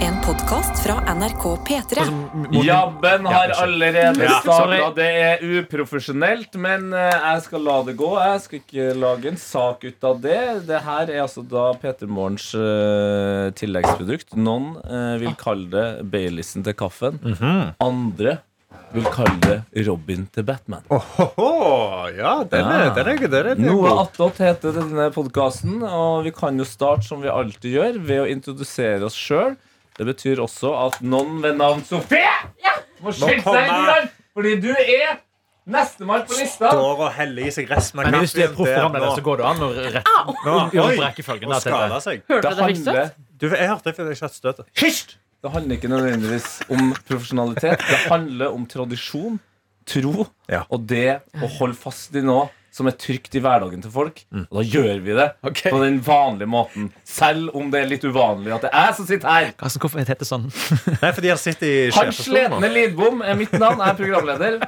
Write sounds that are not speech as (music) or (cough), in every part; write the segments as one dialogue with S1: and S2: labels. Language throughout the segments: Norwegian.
S1: En podkast fra NRK P3.
S2: Jabben har allerede
S3: Ja, sorry.
S2: starta. Det er uprofesjonelt, men eh, jeg skal la det gå. Jeg skal ikke lage en sak ut av det. Det her er altså da Peter Morgens eh, tilleggsprodukt. Noen eh, vil kalle det Baileysen til kaffen.
S3: Mhm.
S2: Andre vil kalle det Robin til Batman.
S3: Åhå, ja, den er,
S2: Ah.
S3: den er, den er, den er
S2: Noe
S3: god.
S2: attåt heter denne podkasten, og vi kan jo starte som vi alltid gjør, ved å introdusere oss sjøl. Det betyr også at noen ved navn Sofie må skynde
S3: kommer
S2: seg i gang, fordi du er nestemann på lista.
S3: Står og heller i seg resten av
S4: Men hvis du er
S3: der
S4: proffprogramleder,
S3: nå.
S4: så går det an å rette
S3: Nå,
S4: gjøre opp
S3: oi,
S4: rekkefølgen.
S3: og
S4: der, Tete.
S3: skala seg.
S5: Hørte
S2: Det
S5: du det fikk
S2: handler,
S5: støt?
S3: Du, jeg hørte det, for jeg har ikke hatt støtet.
S2: det handler ikke nødvendigvis om profesjonalitet. Det handler om tradisjon, tro
S3: Ja.
S2: og det å holde fast i noe som er trygt i hverdagen til folk.
S3: Mm.
S2: Og da gjør vi det
S4: Ok.
S2: på den vanlige måten. Selv om det er litt uvanlig at det er jeg som sitter her.
S4: Karsten, hvorfor er Tete sånn?
S3: Nei, fordi han sitter i
S2: Hans
S3: sjefestolen.
S2: Sletne Lidbom er sånn, mitt navn. Jeg er programleder.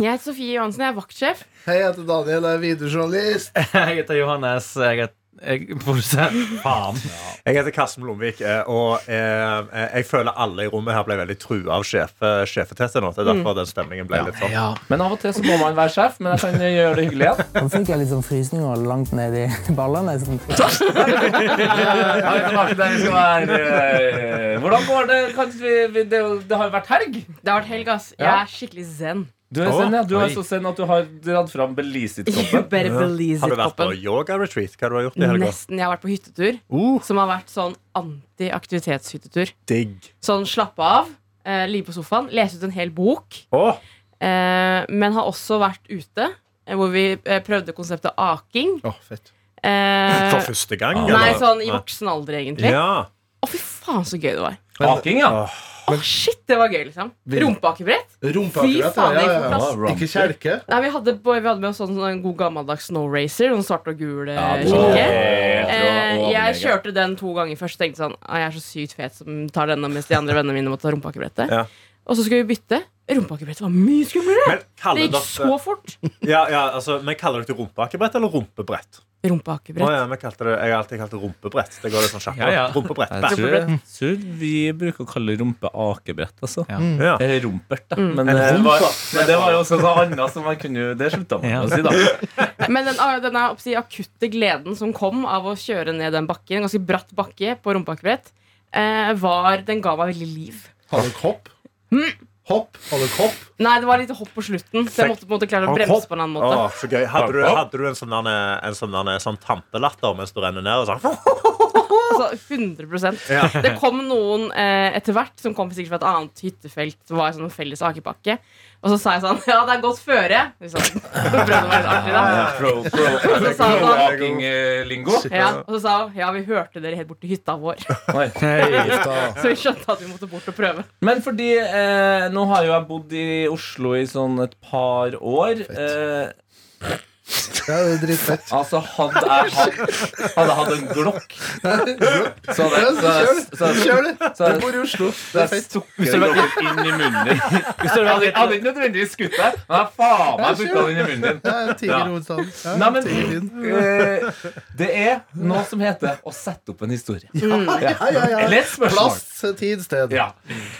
S5: Jeg heter Sofie Johansen, jeg er vaktsjef.
S6: Hei, jeg heter Daniel, jeg er videojournalist.
S4: (laughs) Jeg heter Johannes. Jeg er produsent. Faen.
S3: Jeg heter Karsten Blomvik, eh, og eh, jeg føler alle i rommet her ble veldig trua av sjef, sjefetettet nå. Det er derfor den stemningen ble litt sånn.
S4: (laughs) Mm. Ja.
S2: Men av og til så må man være sjef. Men jeg kan gjøre det hyggelig igjen.
S7: Nå fikk jeg litt sånn frysninger langt ned i (laughs) ballene. Sånn.
S2: Da er vi tilbake der vi skal være. Eh, Hvordan går det? Kanskje vi, vi, det, er jo- det har jo vært helg.
S5: Det har vært helg, ass. Jeg
S2: Ja.
S5: er skikkelig zen.
S3: (laughs)
S2: Du er, sen, ja. du er
S4: Oi.
S2: så sen at du har dratt fram
S5: (laughs) You
S2: Belize-koppen.
S5: better believe
S3: Har du
S5: it,
S3: vært på
S5: koppen.
S3: yoga-retreat? Hva har du gjort i helga?
S5: Nesten. Jeg har vært på hyttetur,
S3: Uh,
S5: som har vært sånn anti-aktivitetshyttetur.
S3: digg.
S5: Sånn slappe av, eh, ligge på sofaen, lese ut en hel bok.
S3: Åh,
S5: Eh, men har også vært ute, eh, hvor vi eh, prøvde konseptet aking.
S6: Å, fett.
S5: Eh,
S3: for første gang?
S5: nei,
S3: eller?
S5: sånn i voksen alder, egentlig. Å,
S3: Ja.
S5: fy faen, så gøy det var.
S2: Aking, ja.
S5: Å, shit, det var gøy, liksom. Rumpeakebrett. Fy
S6: Rumpakebrett,
S5: faen,
S6: ja,
S5: jeg
S6: ja,
S5: får
S6: ja.
S5: plass.
S6: Ikke kjelke.
S5: Nei, vi hadde, på, vi hadde med oss sånn, sånn god gammeldags Snow Racer. Sånn svart og gul eh,
S2: Ja, det var
S5: skikke.
S2: helt rå
S5: Eh,
S2: og
S5: jeg
S2: mega.
S5: kjørte den to ganger først. Tenkte sånn «Ah, Jeg er så sykt fet som tar denne, mens de andre vennene mine må ta rumpakebrettet.
S3: Ja.
S5: Og så skulle vi bytte. Rumpakebrettet var mye skumlere!
S3: Men kaller
S5: Det gikk
S3: dere-
S5: så fort.
S3: ja, ja, altså, men kaller dere det rumpeakebrett eller rumpebrett? Å,
S5: Rumpakebrett.
S3: ja, vi kalte det, jeg har alltid kalt det rumpebrett. Det går litt sånn kjappere.
S4: Ja, ja.
S3: Rumpebrett.
S2: Jeg
S3: Bæ.
S2: tror, jeg tror vi bruker å kalle rumpe akebrett, altså.
S4: Ja.
S6: Mm.
S3: Ja.
S2: Eller rumpert, da.
S5: Mm.
S2: Men, eh, det var, men det var jo også noe annet som man kunne jo Det slutta man
S4: Ja.
S2: å si, da.
S5: Men den, ah, denne oppsi, akutte gleden som kom av å kjøre ned den bakken, en ganske bratt bakke på rumpakebrett, eh, var Den ga meg veldig liv.
S6: Har dere hopp? Hopp? Har dere hopp?
S5: Nei, det var litt hopp på slutten, så jeg måtte på en måte klare å bremse på en annen måte.
S3: Å, så gøy. Hadde du, hadde du en sånn, derne, en sånn, derne, sånn tampelatter mens du renner ned? Og sånn.
S5: Altså 100
S3: Ja.
S5: Det kom noen eh, etter hvert som kom sikkert fra et annet hyttefelt. Som var sånn en felles akepakke Og så sa jeg sånn Ja, det er godt føre. Vi sa- (laughs) prøvde å være litt artig, da.
S2: Pro, pro,
S5: så sa han- sånn,
S2: Pro-aking-lingo.
S5: Ja, og så sa hun ja, vi hørte dere helt bort til hytta vår. (laughs)
S6: Da.
S5: Så vi skjønte at vi måtte bort og prøve.
S2: Men fordi eh, nå har jo jeg bodd i Oslo i sånn et par år. Eh,
S6: Ja, det er dritfett.
S2: altså hadde jeg hatt Hadde jeg hatt en glokk, så hadde jeg- så
S6: Kjør
S2: hadde jeg- så
S6: det.
S2: hadde jeg-
S6: Kjør det. Du bor i Oslo.
S2: så
S6: Det
S2: hadde
S6: er
S2: jeg
S6: fett.
S2: stukket glokken inn i munnen din. Jeg hadde, jeg hadde ikke nødvendigvis skutt deg, men jeg faen meg putta den inn i munnen din.
S6: Det er
S2: Ja.
S6: tiger i hovedstaden. Ja,
S2: Nei, men-
S6: tiger i den.
S2: Eh, det er noe som heter å sette opp en historie.
S6: Mm. Ja, ja, ja.
S2: Eller et spørsmål.
S6: Plass, eh, tid, sted.
S2: Ja.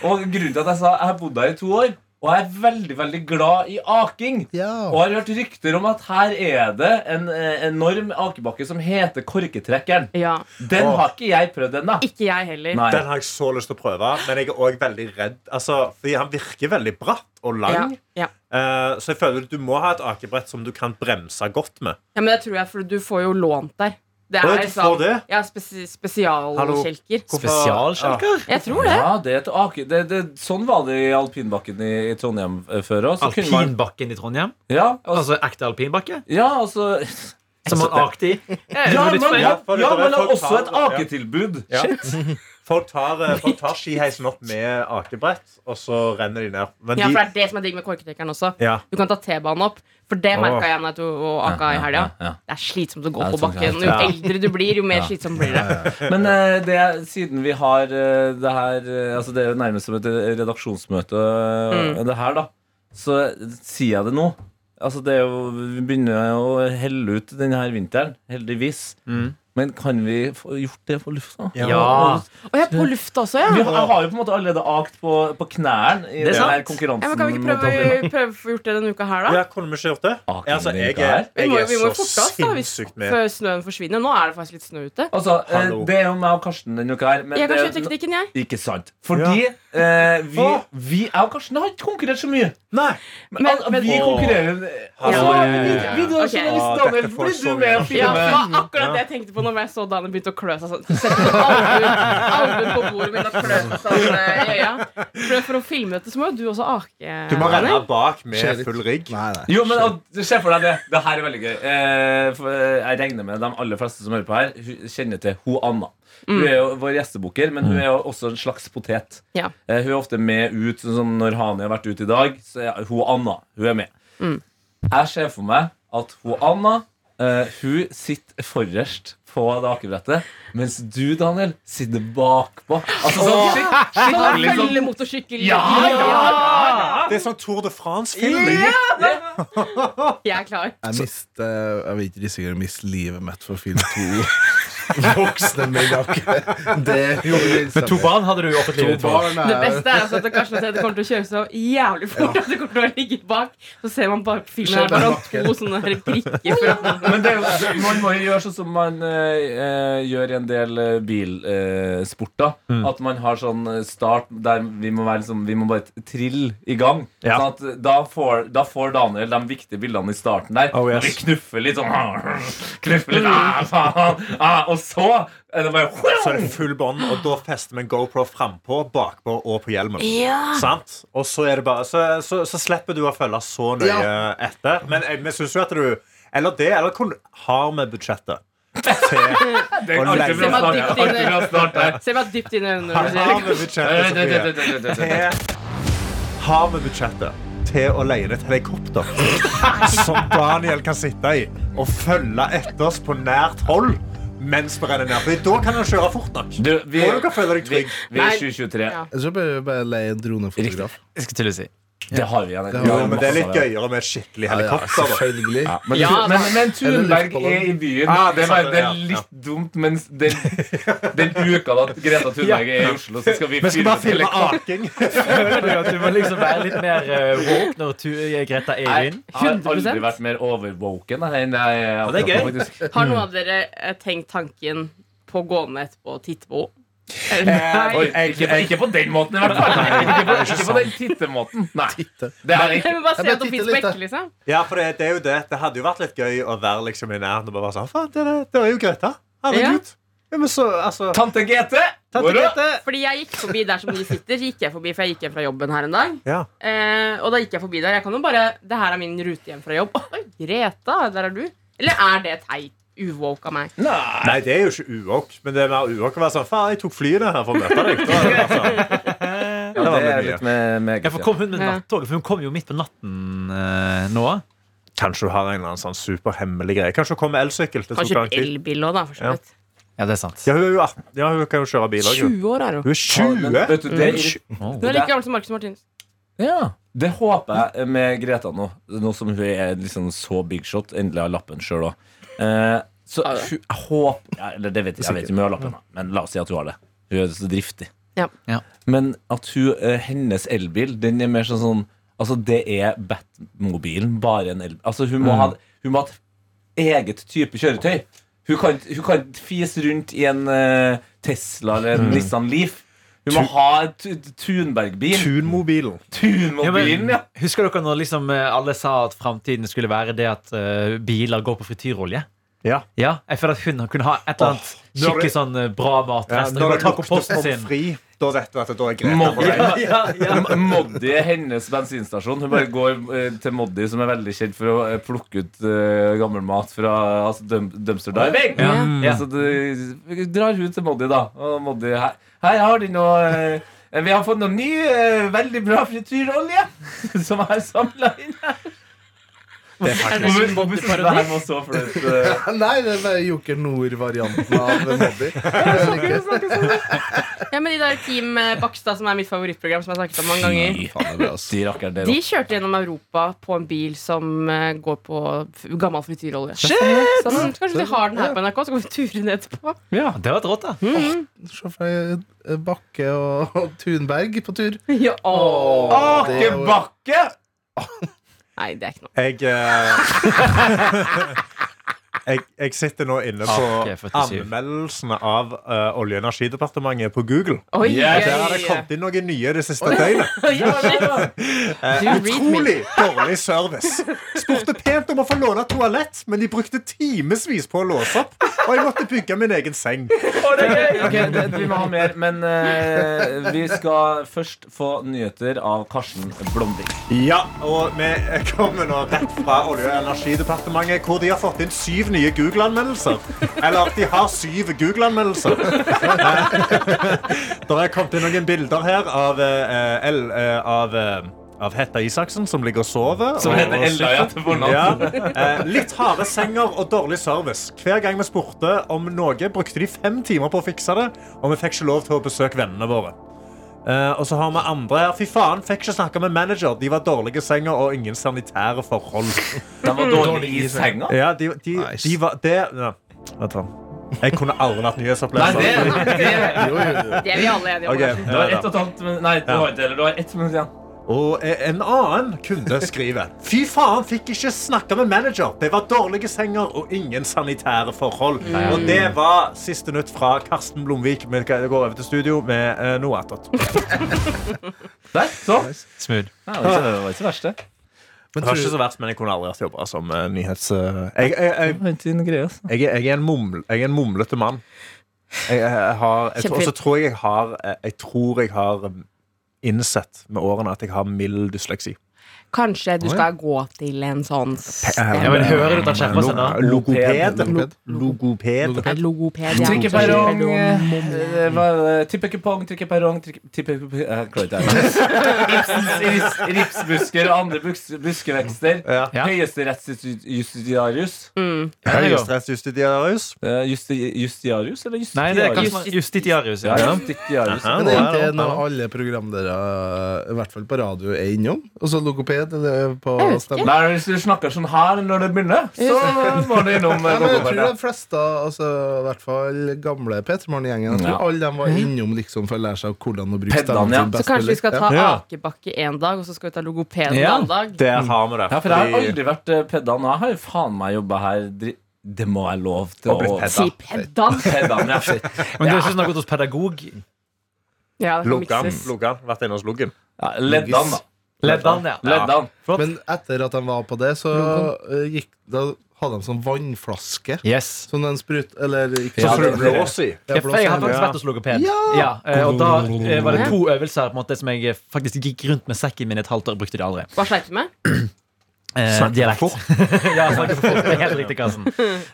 S2: Og grunnen til at jeg sa jeg har bodd her i to år, og jeg er veldig, veldig glad i aking.
S6: Ja.
S2: Og jeg har hørt rykter om at her er det en eh, enorm akebakke som heter Korketrekkeren.
S5: Ja,
S2: Den har ikke jeg prøvd ennå.
S5: Ikke jeg heller.
S2: Nei.
S3: Den har jeg så lyst til å prøve, men jeg er òg veldig redd. Altså, fordi han virker veldig bratt og
S5: Ja,
S3: lang.
S5: ja.
S3: Eh, så jeg føler du må ha et akebrett som du kan bremse godt med.
S5: ja, Men det tror jeg, for du får jo lånt der. Det
S3: Å,
S5: liksom-
S3: du får det?
S5: Ja, spesi spesialkjelker.
S4: Spesialskjelker?
S5: Jeg tror det.
S2: Ja, det er et ake... Det, det, sånn var det i alpinbakken i, i Trondheim eh, før òg.
S4: altså. Alpinbakken i Trondheim?
S2: Ja, og,
S4: Altså ekte alpinbakke?
S2: ja, og så
S4: Som man akte i?
S2: Ja,
S4: litt
S2: man,
S4: spennende.
S2: ja,
S3: Ja,
S2: ja, men
S3: folk
S2: også et
S3: tar- ja.
S2: aketilbud.
S3: Ja.
S2: Shit.
S3: Folk tar, eh, folk tar skiheisen opp med akebrett, og så renner de ned. Men
S5: Ja,
S3: de,
S5: for det er det som er digg med korketrekkeren også.
S3: ja.
S5: Du kan ta T-banen opp, for det merka jeg da jeg tok og aka i helga.
S2: ja, ja.
S5: Det er slitsomt å gå
S2: Ja, det
S5: på
S2: er
S5: bakken.
S2: tungt,
S5: Jo
S2: ja.
S5: eldre du blir, jo mer slitsomt blir det.
S2: Men eh, det, er- siden vi har eh, det her eh, Altså det er jo nærmest som et redaksjonsmøte, eh,
S5: Mm.
S2: det her, da. Så eh, sier jeg det nå. Altså det er jo, Vi begynner jo å helle ut denne her vinteren, heldigvis. Men kan vi få gjort det på lufta?
S4: Ja.
S5: Og jeg er på lufta
S2: Vi
S5: også, ja.
S2: har, jeg har jo på en måte allerede akt på, på knærne i den her
S4: Det er sant.
S5: ja
S2: konkurransen.
S5: men kan vi ikke
S2: mot Antonina.
S5: prøve, prøve å få gjort det denne uka her, da?
S3: Ja, kunne vi ikke gjort det?
S2: Ah,
S3: Altså,
S2: kunne vi
S3: jeg
S2: ikke
S3: er,
S2: her?
S5: Vi
S3: jeg
S5: må,
S3: er
S5: vi må jo
S3: så
S5: forte oss da, hvis,
S3: sinnssykt med.
S5: før snøen forsvinner. Nå er det faktisk litt snø ute.
S2: Altså, eh,
S3: Hallo.
S2: det er jo meg og Karsten denne uka her. Men
S5: Jeg kan
S2: det-
S5: kjøre teknikken, jeg.
S2: Ikke sant. Fordi eh, vi,
S3: Åh.
S2: vi, jeg og Karsten har ikke konkurrert så mye.
S3: Nei!
S2: Men,
S5: Men-
S2: al- vi
S3: Åh.
S2: konkurrerer altså,
S5: Ja, ja,
S2: vi,
S5: ja, ja.
S2: vi, vi,
S5: Ok.
S2: journalist
S3: Åh,
S2: Daniel,
S3: dette får
S2: blir
S3: så
S2: du med
S3: mye
S2: og
S3: energi.
S5: Ja, det
S2: filmer?
S5: var akkurat det jeg tenkte på når jeg så Daniel begynte å klø seg sånn. Sette albuen albuen på bordet mitt og klø seg sånn eh, i øya. For, for å filme dette så må jo du også ake.
S3: Du må
S5: Daniel.
S3: renne bak
S6: Skjer
S3: med
S6: litt.
S3: full rigg.
S6: Nei, nei.
S2: Jo, men og, Se for deg det. Det her er veldig gøy. Eh, for, eh, jeg regner med de aller fleste som hører på her, hu- kjenner til hun Anna. Hun
S5: Mm.
S2: er jo vår gjestebukker, men hun er jo også en slags potet.
S5: Ja.
S2: Eh, hun er ofte med ut, sånn som når Hani har vært ute i dag. Så er hun Anna hun er med.
S5: Mm.
S2: Jeg ser for meg at hun Anna eh, Hun sitter forrest på det akebrettet, mens du, Daniel, sitter bakpå. Altså sånn skikk-
S5: Sånn
S2: skikkelig
S4: liksom-
S2: sånn
S5: følgemotorsykkel.
S2: Ja, ja,
S5: Ah.
S3: Det er sånn Tour de France-film.
S5: Jeg er klar.
S6: Jeg, mist, eh, jeg vil ikke risikere å miste livet mitt for film to. (laughs) Voksne menn, akkurat. Det gjorde vi
S4: Men to barn hadde du i offentlig
S6: To
S4: utvalg.
S6: barn er-
S5: Det beste er altså at Karsten sier at det kommer til å kjøre så jævlig fort at du kommer til å ligge bak. Så ser man bare på filmen her
S6: Skjer
S5: bare
S6: den
S5: to sånne her prikker fra
S2: Men det, er jo- det- man må jo gjøre sånn som man eh, eh, gjør i en del bilsporter.
S3: Mm.
S2: At man har sånn start der vi må, være, liksom, vi må bare trille i gang.
S4: Ja.
S2: Sånn at da får, da får Daniel de viktige bildene i starten der.
S3: Oh, yes.
S2: Når vi knuffer litt sånn (laughs) Knuffer litt ah, faen, ah, Og så er det bare
S3: Så er det full bånd, og da fester vi en GoPro frampå, bakpå og på hjelmen. Sant? Og så, er det bare, så, så, så slipper du å følge så nøye
S6: Ja.
S3: etter. Men jeg- vi syns jo at du Eller det, eller kun, har vi
S5: (laughs)
S3: budsjettet? Til,
S2: Det er
S3: Og
S2: alltid fra start, alltid fra
S3: legger-
S5: Se meg dypt inn i-
S2: start der.
S5: Se meg dypt inn i øynene
S3: har
S5: når du sier
S3: vi
S5: det.
S2: Eh,
S3: budsjettet, Sofie?
S2: Sofie.
S3: til Har vi budsjettet til å leie et helikopter som Daniel kan sitte i og følge etter oss på nært hold mens vi renner ned? Fordi da kan han kjøre fort nok.
S2: Du, vi,
S3: Og du kan føle deg trygg.
S2: vi er 2023.
S5: Ja.
S6: Jeg tror bare, bare leie en dronefotograf.
S4: Jeg skulle til å si.
S2: Det har vi igjen.
S6: Det har vi.
S3: Jo, men det er litt
S2: Masse av
S3: gøyere med et skikkelig
S6: Ja, ja,
S3: helikopter. da.
S6: selvfølgelig.
S2: Men,
S5: Ja,
S2: men,
S5: da.
S2: men Thunberg
S6: Eller
S2: er i byen.
S3: Ah,
S2: det, er
S3: sant
S2: bare,
S3: det,
S2: det
S3: ja,
S2: er litt dumt, men den, den uka da Greta Thunberg er i Oslo, så skal vi
S3: Vi skal bare filme
S2: helikopter.
S3: aking.
S4: Føler du at du må liksom være litt mer eh, woke når tu Greta er inn?
S2: Jeg har aldri
S5: 100%.
S2: vært mer overwoken jeg, enn jeg er
S4: det er
S2: akkurat nå,
S4: gøy.
S2: faktisk.
S5: Har noen av dere eh, tenkt tanken på å gå ned etterpå og titte på henne?
S2: Oi, ikke, på, ikke på den måten, i hvert fall. Ikke på, ikke på den tittemåten. Nei. Det er
S5: Jeg
S2: ikke.
S5: vil bare se
S6: Jeg bare
S5: at hun fins
S6: titter
S5: på
S6: litt, da.
S5: ekte, liksom.
S3: Ja, for det, det er jo det. Det hadde jo vært litt gøy å være liksom i nærheten og bare være sånn Faen, det, er- det er jo Greta. Herregud. Ja, men så, altså
S2: Tante GT!
S3: Tante
S2: hvor er du?
S3: Grete.
S5: Fordi jeg gikk forbi der som de sitter, gikk jeg forbi, for jeg gikk hjem fra jobben her en dag.
S3: Ja.
S5: Eh, og da gikk jeg forbi der. Jeg kan jo bare Det her er min rute hjem fra jobb. (laughs) Oi, Greta, der er du. Eller er det teit? Uwoke av meg.
S2: Nei.
S3: Nei, det er jo ikke uåk, men det er mer uåk å være sånn Faen, jeg tok flyet ned her for å møte deg. Da er det bare sånn.
S2: Ja, det er
S3: mye.
S2: litt med
S4: Ja,
S2: meget.
S4: for
S2: ja.
S4: kom hun med nattoget? For hun kom jo midt på natten eh, nå.
S3: Kanskje hun har en eller annen sånn superhemmelig greie. Kanskje hun kom med elsykkel. Det tok
S5: Kanskje
S3: lang tid.
S5: elbil òg, da. For så
S3: Ja.
S5: vidt.
S4: Ja, det er sant.
S3: Ja, hun er jo 18. Ja, hun kan jo kjøre bil òg, hun.
S5: 20 år er hun.
S3: Hun er
S2: Men vet
S3: 20!
S2: du, det, er-
S5: Hun er like gammel som Marcus (laughs) Martinus.
S2: Ja, det håper jeg med Greta nå. Nå som hun er liksom så big shot, endelig har lappen sjøl òg. Eh, så
S5: Har det?
S2: hun, jeg håper ja, Eller det vet jeg, jeg vet ikke om hun har lappen, da. men la oss si at hun har det. Hun er så driftig.
S5: Ja.
S4: Ja.
S2: Men at hun, eh, hennes elbil, den er mer sånn sånn Altså, det er Batmobilen, bare en elbil. Altså, hun må, ha, hun må ha et eget type kjøretøy. Hun kan, hun kan fise rundt i en eh, Tesla eller en Nissan Leaf. Hun må ha et Mm. tu- Thunberg-bil.
S3: Tunmobilen.
S4: Ja,
S2: Tunmobilen,
S4: men,
S2: ja.
S4: husker dere når liksom eh, alle sa at framtiden skulle være det at eh, biler går på frityrolje?
S3: Ja.
S4: Ja, jeg føler at hun kunne ha et eller annet
S3: Åh, når
S4: skikkelig
S3: det-
S4: sånn eh, bra
S3: Ja,
S4: matrest. Ja,
S3: når det
S4: tar
S3: lukter
S4: komposten
S3: pommes
S4: sin.
S3: frites, da vet du at det da er Greta. på
S2: Moddi,
S3: vei.
S2: Moddi er hennes bensinstasjon. Hun bare går eh, til Moddi, som er veldig kjent for å eh, plukke ut eh, gammel mat fra altså, dum dumpster diving.
S4: Ja.
S2: Ja, Så du drar hun til Moddi, da. Og Moddi her, her har de noe eh, Vi har fått noe (laughs) ny, eh, veldig bra frityrolje som er samla inn her.
S6: Det er faktisk
S2: Hvorfor hvorfor synes du det her var så flaut? eh?
S6: (laughs) Nei, det er bare Joker Nord-varianten av Mobby. Jeg liker det.
S5: Ja, men de der Team eh, Bakstad, som er mitt favorittprogram, som jeg har snakket om mange ganger,
S6: Fy (laughs) faen, det er bra, ass.
S2: De rakker det
S5: de
S2: opp.
S5: kjørte gjennom Europa på en bil som eh, går på f- gammel frityrolje. Så sånn, kanskje vi har den her på NRK, så kan vi ture ned etterpå.
S4: Ja, det var et rått, da.
S6: Se for deg Bakke og og Thunberg på tur.
S5: (laughs) Ja, åh.
S6: Åh, det er jo-
S2: Akebakke!
S5: Nei, det er ikke noe.
S3: Jeg eh, (laughs) Jeg, jeg sitter nå inne på
S4: Arke 47.
S3: anmeldelsene av eh, Olje- og energidepartementet på Google.
S5: Oi,
S2: Yes.
S3: Der har det kommet inn noen nye det siste døgnet. Eh,
S5: You read me.
S3: utrolig dårlig service. Spurte pent om å få låne toalett, men de brukte timevis på å låse opp. Og jeg måtte bygge min egen seng.
S2: Ok, det, vi må ha mer, men eh, vi skal først få nyheter av Karsten Blomvik.
S3: Ja, og vi kommer nå rett fra Olje- og energidepartementet, hvor de har fått inn syv nye Google-anmeldelser. Eller de har syv Google-anmeldelser. (laughs) Det er kommet inn noen bilder her av, eh, El, eh, av, eh, av Hetta Isaksen, som ligger og sover.
S2: Som
S3: og-
S2: heter
S3: og
S2: Ella i
S3: sitter.
S2: etternavn.
S3: Ja. (laughs) Eh, Litt harde senger og dårlig service. Hver gang vi spurte om noe, brukte de fem timer på å fikse det, og vi fikk ikke lov til å besøke vennene våre. Eh, og så har vi andre her. Fy faen, fikk ikke snakke med manager. De var dårlige i senga og ingen sanitære forhold.
S2: De var dårlige i senga.
S3: Ja, de, de,
S6: Nice.
S3: de var Det ja. Vent da. Jeg kunne aldri vært
S2: Nei, det,
S3: nyhetsoppleser.
S2: det,
S6: Jo, jo, jo.
S5: Det er vi alle enige om. altså.
S3: Ok,
S5: kanskje.
S2: det var
S3: hør
S2: ett og
S3: da.
S2: et halvt minutt Nei, du har ikke det. Du har ett minutt igjen.
S3: Og eh, en annen kunde skriver Fy faen, fikk ikke snakke med manager. Det var dårlige senger og ingen sanitære forhold. Og det var siste nytt fra Karsten Blomvik. Vi går over til studio med eh, noe attåt.
S2: Der, så.
S4: Smooth.
S2: Nei, det var ikke- det var ikke verst, det.
S6: Men
S3: Det var ikke
S6: tror,
S3: så verst, men jeg kunne aldri vært jobba som eh, nyhets... eh, jeg, jeg, jeg,
S2: Det var ikke en greie, altså.
S3: Jeg er, jeg er, en, muml, jeg er en mumlete mann. Jeg, jeg, jeg har, jeg, tror- og så
S5: Kjempefint.
S3: tror jeg jeg har jeg- Jeg tror jeg har eh, innsett med årene at jeg har mild dysleksi.
S5: Kanskje du skal gå til en sånn
S4: Ja, men hører du at han skjerper seg nå?
S3: Logoped.
S6: Logoped.
S3: Logoped.
S5: En logoped. ja.
S2: Trikke perrong
S5: sånn-
S2: eh, hva- Tippe kupong, trikke perrong trikke- Tippe kupong Jeg klarer ikke (laughs) det Ripsens- rips- Ripsbusker og andre buks, buskevekster
S3: Ja.
S4: Ja.
S2: Høyesterettsjustitiarius
S3: Høyesterettsjustitiarius.
S2: Eh, justi- Justiarius eller justitiarius?
S4: Nei, det er kanskje sånn Justitiarius.
S2: Ja,
S4: Ja.
S2: justitiarius
S3: Aha.
S6: men det er
S3: Ja, ja,
S6: egentlig
S3: ja.
S6: noe alle programdere, i hvert fall på radio, er innom. Og så logoped eller på
S5: Jeg vet ikke.
S6: stemme.
S2: Nei, hvis du snakker sånn her når det begynner Så må du innom
S6: Ja,
S2: eh,
S6: men jeg tror
S2: logopartiet.
S6: de fleste, altså, i hvert fall gamle P3morgen-gjengen, jeg
S2: Ja.
S6: tror alle de var innom liksom, for å lære seg hvordan å bruke
S2: Peddene,
S6: stemmen
S2: ja.
S6: sin
S5: Mhm. Så
S6: best
S5: kanskje vi skal ta
S3: Ja.
S5: akebakke en dag, og så skal vi ta logoped en
S2: Ja.
S5: annen dag?
S3: Der har vi det.
S2: Ja, for jeg har
S3: Fordi-
S2: aldri vært eh, peddan Og jeg har jo faen meg jobbet her dri- Det må jeg lov til
S3: Og blitt
S2: å-
S3: pedda.
S5: Si peddan!
S2: Peddan, ja (laughs) shit.
S4: Men du synes han har gått sånn hos pedagog?
S5: Ja, det kan
S3: Loggan.
S5: mikses.
S3: Loggan. Vært inne hos Loggen.
S2: Ja, Leddan da
S4: Leddan, ja.
S2: Leddan
S6: Men etter at de var på det, så eh, gikk, da hadde de sånn vannflaske.
S4: Yes.
S6: Som den sprut... Eller ikke
S2: Ja,
S3: Så
S6: sånn
S3: får
S2: det-
S3: du blås i.
S4: Ja, for Jeg har
S6: blåser-
S4: faktisk vært hos logoped. Ja, eh, og da eh, var det to øvelser på en måte, som jeg eh, faktisk gikk rundt med sekken min et halvt år og brukte det aldri.
S5: Hva sleit du med?
S4: Eh,
S3: Snakket
S4: dialekt.
S3: for
S4: (laughs) ja, snakket for fort. Det er helt riktig, Karsten.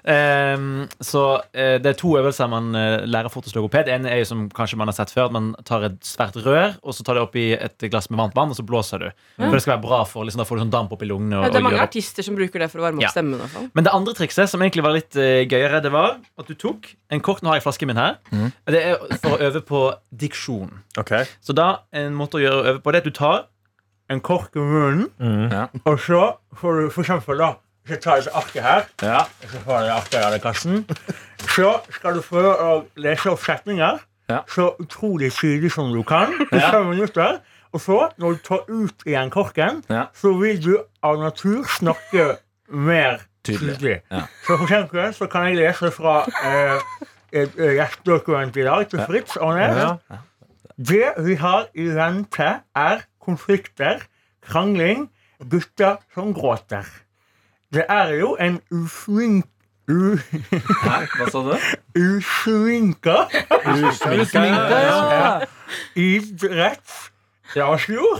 S4: Ehm, så eh, det er to øvelser man eh, lærer fort hos logoped. En er jo som kanskje man har sett før, at man tar et svært rør, og så tar det opp i et glass med varmt vann, og så blåser du. For det skal være bra for, liksom, Da får du sånn damp opp i lungene. Og,
S5: Ja, det er
S4: og
S5: mange
S4: gjør opp.
S5: artister som bruker det for å varme opp
S4: Ja.
S5: stemmen. sånn. i hvert fall.
S4: Men det andre trikset, som egentlig var litt eh, gøyere, det var at du tok en kort Nå har jeg flasken min her.
S3: Mm.
S4: Det er for å øve på diksjon.
S3: Ok.
S4: Så da, en måte å gjøre øve på det er at du tar en kork i munnen,
S2: Ja.
S4: og så får du for eksempel da så tar du et arket her.
S2: Ja.
S4: Så får du det arket her i kassen. Så skal du prøve å lese opp setninger
S2: Ja.
S4: så utrolig tydelig som du kan. I
S2: Ja.
S4: fem minutter. Og så, når du tar ut igjen korken,
S2: Ja.
S4: så vil du av natur snakke mer
S2: Tydelig.
S4: tydelig.
S2: Ja.
S4: Så for eksempel så kan jeg lese fra eh, et eh, gjestedokument i dag til Fritz Aanes.
S3: Ja.
S4: Det vi har i vente, er konflikter, krangling, gutter som gråter. Det er jo en usmink... U,
S2: Hæ? Hva sa du?
S4: usminka
S2: Ja.
S4: idretts... La oss jo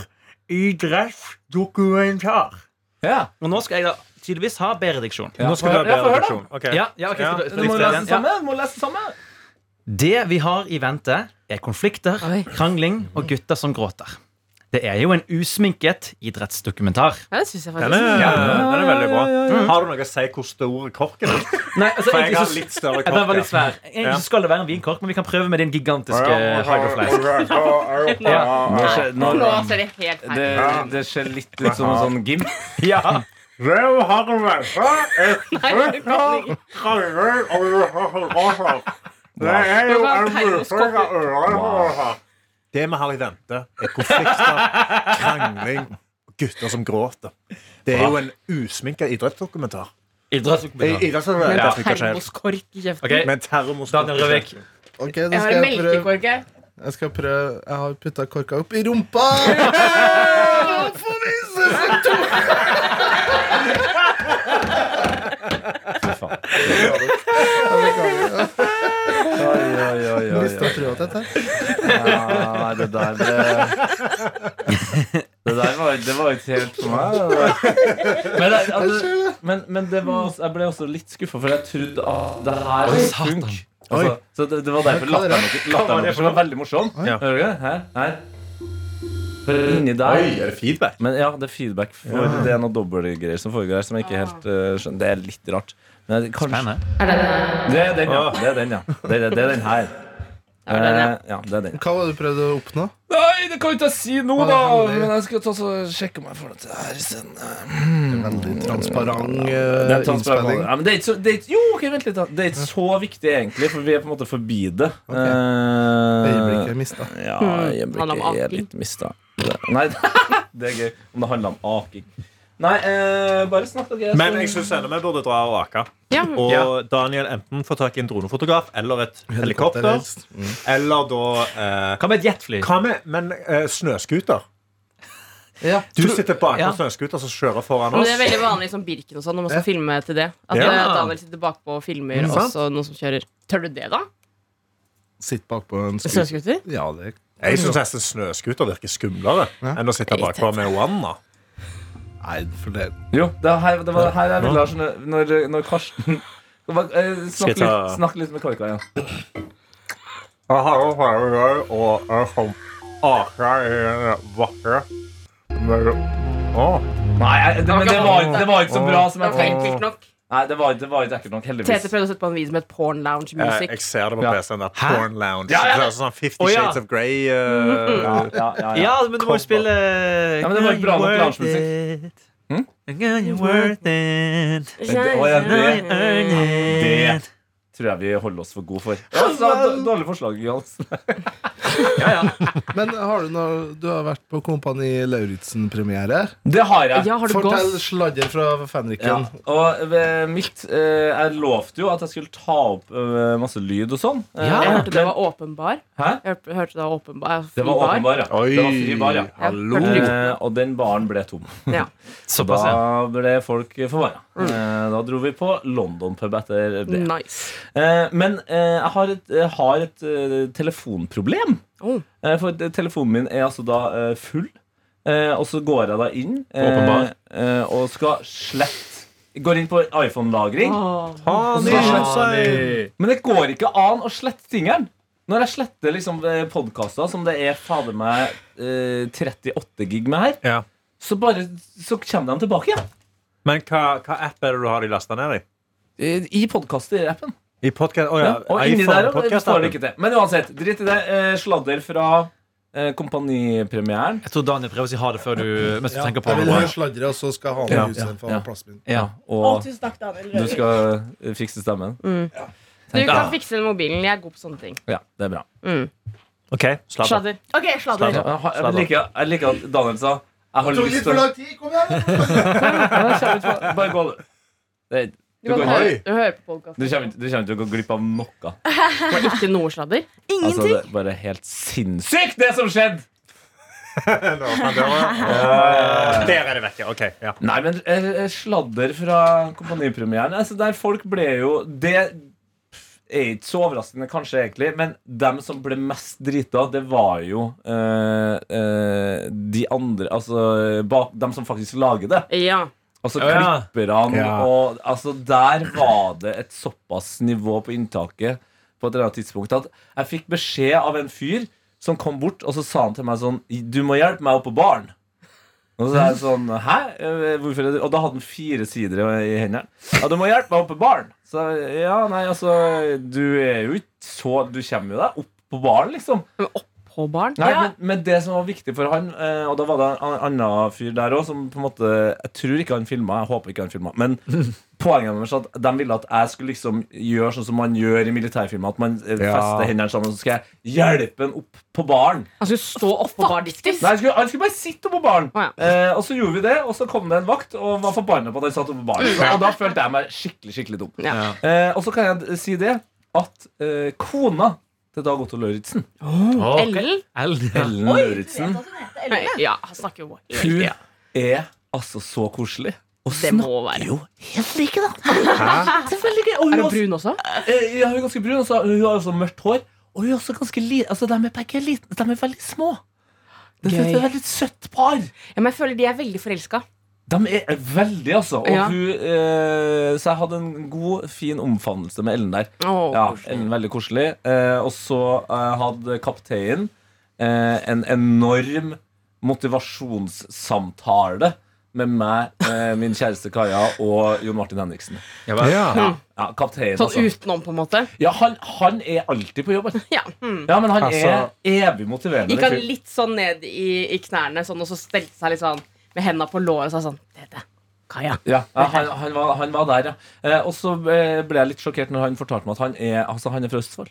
S4: idrettsdokumentar.
S2: Ja.
S4: Og nå skal jeg da tydeligvis ha bedre diksjon.
S3: Nå skal du
S2: Ja, få
S3: ha bedre
S2: høre da.
S3: diksjon. Ok.
S4: Ja, ja, ok,
S3: Ja,
S4: skal du-
S2: Du
S4: skal du
S2: må
S4: lese
S2: lese
S4: den? Ja.
S2: samme. Du må lese samme.
S4: Det vi har i vente, er konflikter,
S5: Oi.
S4: krangling og gutter som gråter. Det er jo en usminket idrettsdokumentar.
S5: Ja, det syns jeg
S3: Den er,
S5: faktisk.
S3: ja, den er veldig bra. Har du noe å si hvor stor korken er?
S4: Nei, altså,
S3: For jeg
S4: egentlig
S3: har
S4: så-
S3: litt større
S4: Ja, Den var litt
S3: kork.
S4: svær. Egentlig så skal det være en vinkork, men vi kan prøve med din gigantiske Hydroflask. Ja.
S2: Nå skjer- nå-
S5: Nå ser det helt feil
S2: det,
S5: ut.
S2: det ser litt ut som en sånn gimp.
S4: Ja.
S3: Det vi har i vente, er konflikter, krangling, gutter som gråter. Det er jo en usminka idrettsdokumentar.
S4: (laughs)
S3: Eh,
S4: Idrettsdokumentar.
S5: Men
S3: Idrettsdokumentar funker ikke helt.
S5: termoskork i kjeften.
S4: Ok,
S3: Men termos
S4: Daniel Røvik.
S6: Ok, da
S5: Jeg har
S6: skal
S5: en
S6: jeg prøve
S5: melkekork her.
S6: Jeg skal prøve Jeg har putta korka opp i rumpa! For disse sektorer! Mista trua til dette.
S2: Nei, Ah, det der (laughs) ble Det der var, det var ikke helt for meg. det der. Men, det, altså, men, men det var også, jeg ble også litt skuffa, for jeg trodde at det her
S4: Oi,
S2: var
S4: satan.
S2: funk. Altså, så det, det var derfor
S6: Hva er det
S2: latteren deres latteren deres var veldig morsom.
S3: Ja.
S2: Hører du det? Her. her. For Inni der.
S3: Oi, er det feedback?
S2: Men ja, det er feedback. For Det er noen dobbeltgreier som foregår her. Som jeg ikke helt eh, skjønner Det er litt rart. Men jeg- kanskje,
S4: Spennende.
S2: det er den, ja. Det er den, ja. Det er, det er den her. Eh, ja, det er den.
S6: Hva var det du prøvde å oppnå?
S2: Nei, det kan jo ikke jeg si nå,
S6: Hva
S2: da!
S6: er det?
S2: Men jeg skal ta så sjekke om jeg får det til eh, her isteden.
S6: Veldig
S2: Det
S6: transparent eh,
S2: er
S6: innspilling.
S2: ja, men det er ikke så, det er ikke, jo, ok, vent litt da Det er ikke så viktig, egentlig, for vi er på en måte forbi det.
S6: Ok.
S2: Eh,
S6: Øyeblikket mista.
S2: Ja,
S5: Hmm. Handler om
S2: øyeblikket er
S5: aking.
S2: litt mista. Nei, (laughs) det er gøy om det handler om aking. Nei, eh, bare snakk dere.
S3: Men jeg syns ennå vi burde dra og ake.
S5: Ja,
S3: Og
S4: Ja.
S3: Daniel enten får tak i en dronefotograf eller et helikopter.
S6: helst.
S3: Eller da eh,
S4: Hva med et jetfly?
S3: Hva med men, eh, snøskuter?
S6: Ja.
S3: Du sitter bak på
S4: Ja.
S3: snøskuter som kjører foran
S5: Men
S3: oss.
S5: det er veldig vanlig som Birken og sånn når man skal filme til det. At
S3: Ja.
S5: eh, Daniel sitter bakpå og filmer,
S6: Mm,
S5: og
S6: sant.
S5: så noen som kjører. Tør du det, da?
S6: Sitt bakpå en skuter.
S5: Snøscooter?
S6: Ja, det
S3: Jeg syns nesten snøskuter virker skumlere
S6: Ja.
S3: enn å sitte bakpå med Wanda.
S6: Nei, for det
S2: Jo, det, var her, det var her jeg ville ha sånne Når, når Karsten (laughs) eh,
S3: Skal jeg
S2: snakk, litt,
S3: ta-
S2: snakk litt med Karka igjen.
S3: Jeg har jo flere greier og jeg som aker i en vakre mellom Å,
S2: Nei, jeg, det, men det var, ikke- det var ikke så bra som
S5: Det
S2: jeg
S5: var
S2: tenkte.
S5: enkelt nok.
S2: Nei, det var, det var ikke ekkelt nok,
S5: Tete
S2: heldigvis.
S5: prøvde å sette på en video som het Porn Lounge
S3: Eh, jeg,
S5: Music.
S3: jeg ser det på
S2: Ja.
S3: PC-en. der Porn Lounge.
S2: Ja, ja, ja.
S3: Det er sånn Fifty
S4: Å, ja.
S3: Shades of Grey.
S2: Ja,
S3: eh,
S2: ja, ja, ja.
S4: Ja, men du må jo spille Hmm?
S2: Ja, men det var ikke bra nok
S4: Worth
S2: loungemusikk.
S4: it. Girl, you're worth it.
S2: det- å, ja, det-
S4: Earn it.
S2: Det tror jeg vi holder oss for gode for. Ja, så, d- dårlig forslag, Jans.
S6: Men har du noe Du har vært på Kompani Lauritzen-premiere.
S2: Det har jeg.
S5: Ja, har du
S6: Fortell
S5: gått?
S6: sladder fra
S2: Ja,
S6: fenriken.
S2: og eh, mitt eh, Jeg lovte jo at jeg skulle ta opp eh, masse lyd og sånn. Eh,
S5: Jeg
S2: men-
S5: hørte det var åpenbar.
S2: Hæ?
S5: Jeg hørte, hørte det var åpenbar.
S2: Det var åpen bar, ja.
S6: Oi.
S2: Det var fri bar, ja.
S5: Ja,
S6: Hallo.
S5: hørte lyden.
S2: Eh, og den baren ble tom.
S5: Ja.
S4: Såpass, ja.
S2: Da ble folk forvara. Eh, da dro vi på London pub etter
S5: Mm.
S2: det.
S5: Nice.
S2: Eh, men eh, jeg har et, jeg har et eh, telefonproblem.
S5: Oh.
S2: Eh, for det- telefonen min er altså da eh, full. Eh, og så går jeg da inn eh,
S4: Åpenbar.
S2: eh, og skal slette Går inn på iPhone-lagring.
S5: Åh.
S3: Honey,
S4: Honey.
S2: Men det går ikke an å slette tingene. Når jeg sletter liksom eh, podkaster som det er fader meg eh, 38 gig med her,
S3: Ja.
S2: så bare så kommer de tilbake igjen.
S3: Men hva, hva app er det du har de lasta ned i?
S2: Eh, I podkaster-appen.
S3: I podcast, oh, ja.
S2: Og inni
S3: iPhone
S2: der også
S3: podcast-appen.
S2: står det ikke til. Men uansett, drit i det. Eh, Sladder fra eh, kompanipremieren.
S4: Jeg tror Daniel prøver å si ha det før du mens du
S6: Ja,
S4: tenker på
S6: jeg vil
S4: det.
S6: høre sladder, og så skal han
S2: Ja,
S6: i huset få
S2: ja.
S6: plassen min.
S4: Ja.
S2: Og
S5: Tusen takk, Daniel.
S2: du skal eh, fikse stemmen.
S5: Du kan fikse den mobilen. Jeg er god på sånne ting.
S2: Ja, det er bra.
S3: OK, slapp av.
S5: Sladder. Ok, sladder.
S2: Ja, jeg, jeg, liker, jeg liker at Daniel sa Jeg har lyst til å
S6: tid, kom igjen!
S2: Ja, det kommer ut fra- Bare gå det, du,
S5: Du, kan
S2: kommer,
S5: høre, du hører på
S2: du,
S5: podkasten.
S2: kommer, du kommer til å gå glipp av noe.
S5: Det er ikke noe sladder.
S2: Altså, det er bare helt sinnssykt, det som skjedde!
S3: Der er det vekke. OK. Ja.
S2: Eh, Nei, men eh, sladder fra kompanipremieren. Altså, der folk ble jo Det er ikke så overraskende, kanskje, egentlig, men dem som ble mest drita, det var jo eh, eh, de andre Altså bak, dem som faktisk lager det.
S5: Ja.
S2: Altså
S4: Å, ja.
S2: klipperne
S3: Ja.
S2: og Altså, der var det et såpass nivå på inntaket på et eller annet tidspunkt at jeg fikk beskjed av en fyr som kom bort, og så sa han til meg sånn Du må hjelpe meg opp på baren. Og så er jeg sånn Hæ? Eh, Hvorfor er det? Og da hadde han fire sider i i hendene. Ja, du må hjelpe meg opp på baren. Så jeg, ja, nei, altså Du er jo ikke så Du kommer jo deg opp på baren, liksom.
S5: På barn?
S2: Nei,
S5: ja.
S2: men, men det som var viktig for han, eh, og da var det en annen fyr der òg som på en måte Jeg tror ikke han filma, jeg håper ikke han filma,
S5: (laughs)
S2: men poenget deres var at de ville at jeg skulle liksom gjøre sånn som man gjør i militærfilmer, at man eh,
S3: Ja.
S2: fester hendene sammen, så skal jeg hjelpe han opp på baren.
S5: Han skulle stå oppå bardisken.
S2: Nei, han skulle, han skulle bare sitte oppå baren.
S5: Å, ja.
S2: Eh, og så gjorde vi det, og så kom det en vakt og var forbanna på at han satt oppå baren. Og da følte jeg meg skikkelig skikkelig dum.
S5: Ja.
S2: Eh, og så kan jeg d- si det at eh, kona til Dag Otto Lauritzen,
S4: Å, ok.
S5: Ellen?
S4: Ellen, ja.
S2: Ellen Lauritzen,
S5: Nei, Ja, han snakker jo helt
S2: hun
S5: ja.
S2: er altså så koselig. Og
S5: Det må
S2: snakker
S5: være.
S2: jo helt like, da. Selvfølgelig ikke. Og hun
S5: Er
S2: er
S5: du
S2: også-
S5: brun også?
S2: eh, ja, hun er ganske brun, og så hun har også mørkt hår. Og hun er også ganske li altså, de, er begge liten, de er veldig små. Det synes jeg er et veldig søtt par.
S5: Ja, men jeg føler de er veldig forelska.
S2: De er veldig, altså. Og
S5: Ja.
S2: hun, eh, så jeg hadde en god, fin omfavnelse med Ellen der. Ja, Ellen Veldig koselig. Eh, og så eh, hadde kapteinen eh, en enorm motivasjonssamtale med meg, eh, min kjæreste Kaja og Jon Martin Henriksen.
S3: Ja.
S2: Ja, kapteinen,
S5: Sånn
S2: altså.
S5: utenom, på en måte.
S2: Ja, han, han er alltid på jobb. han.
S5: Ja. Mm.
S2: Ja, men han
S3: Altså-
S2: er evig motiverende.
S5: Gikk han
S2: fyr.
S5: litt sånn ned i, i knærne, sånn, og så stelte seg litt sånn med henda på låret og sa sånn Tete, Kaja.
S2: Ja, ja, han, han, var, han var der, ja. Eh, og så eh, ble jeg litt sjokkert når han fortalte meg at han er, altså, han er fra Østfold.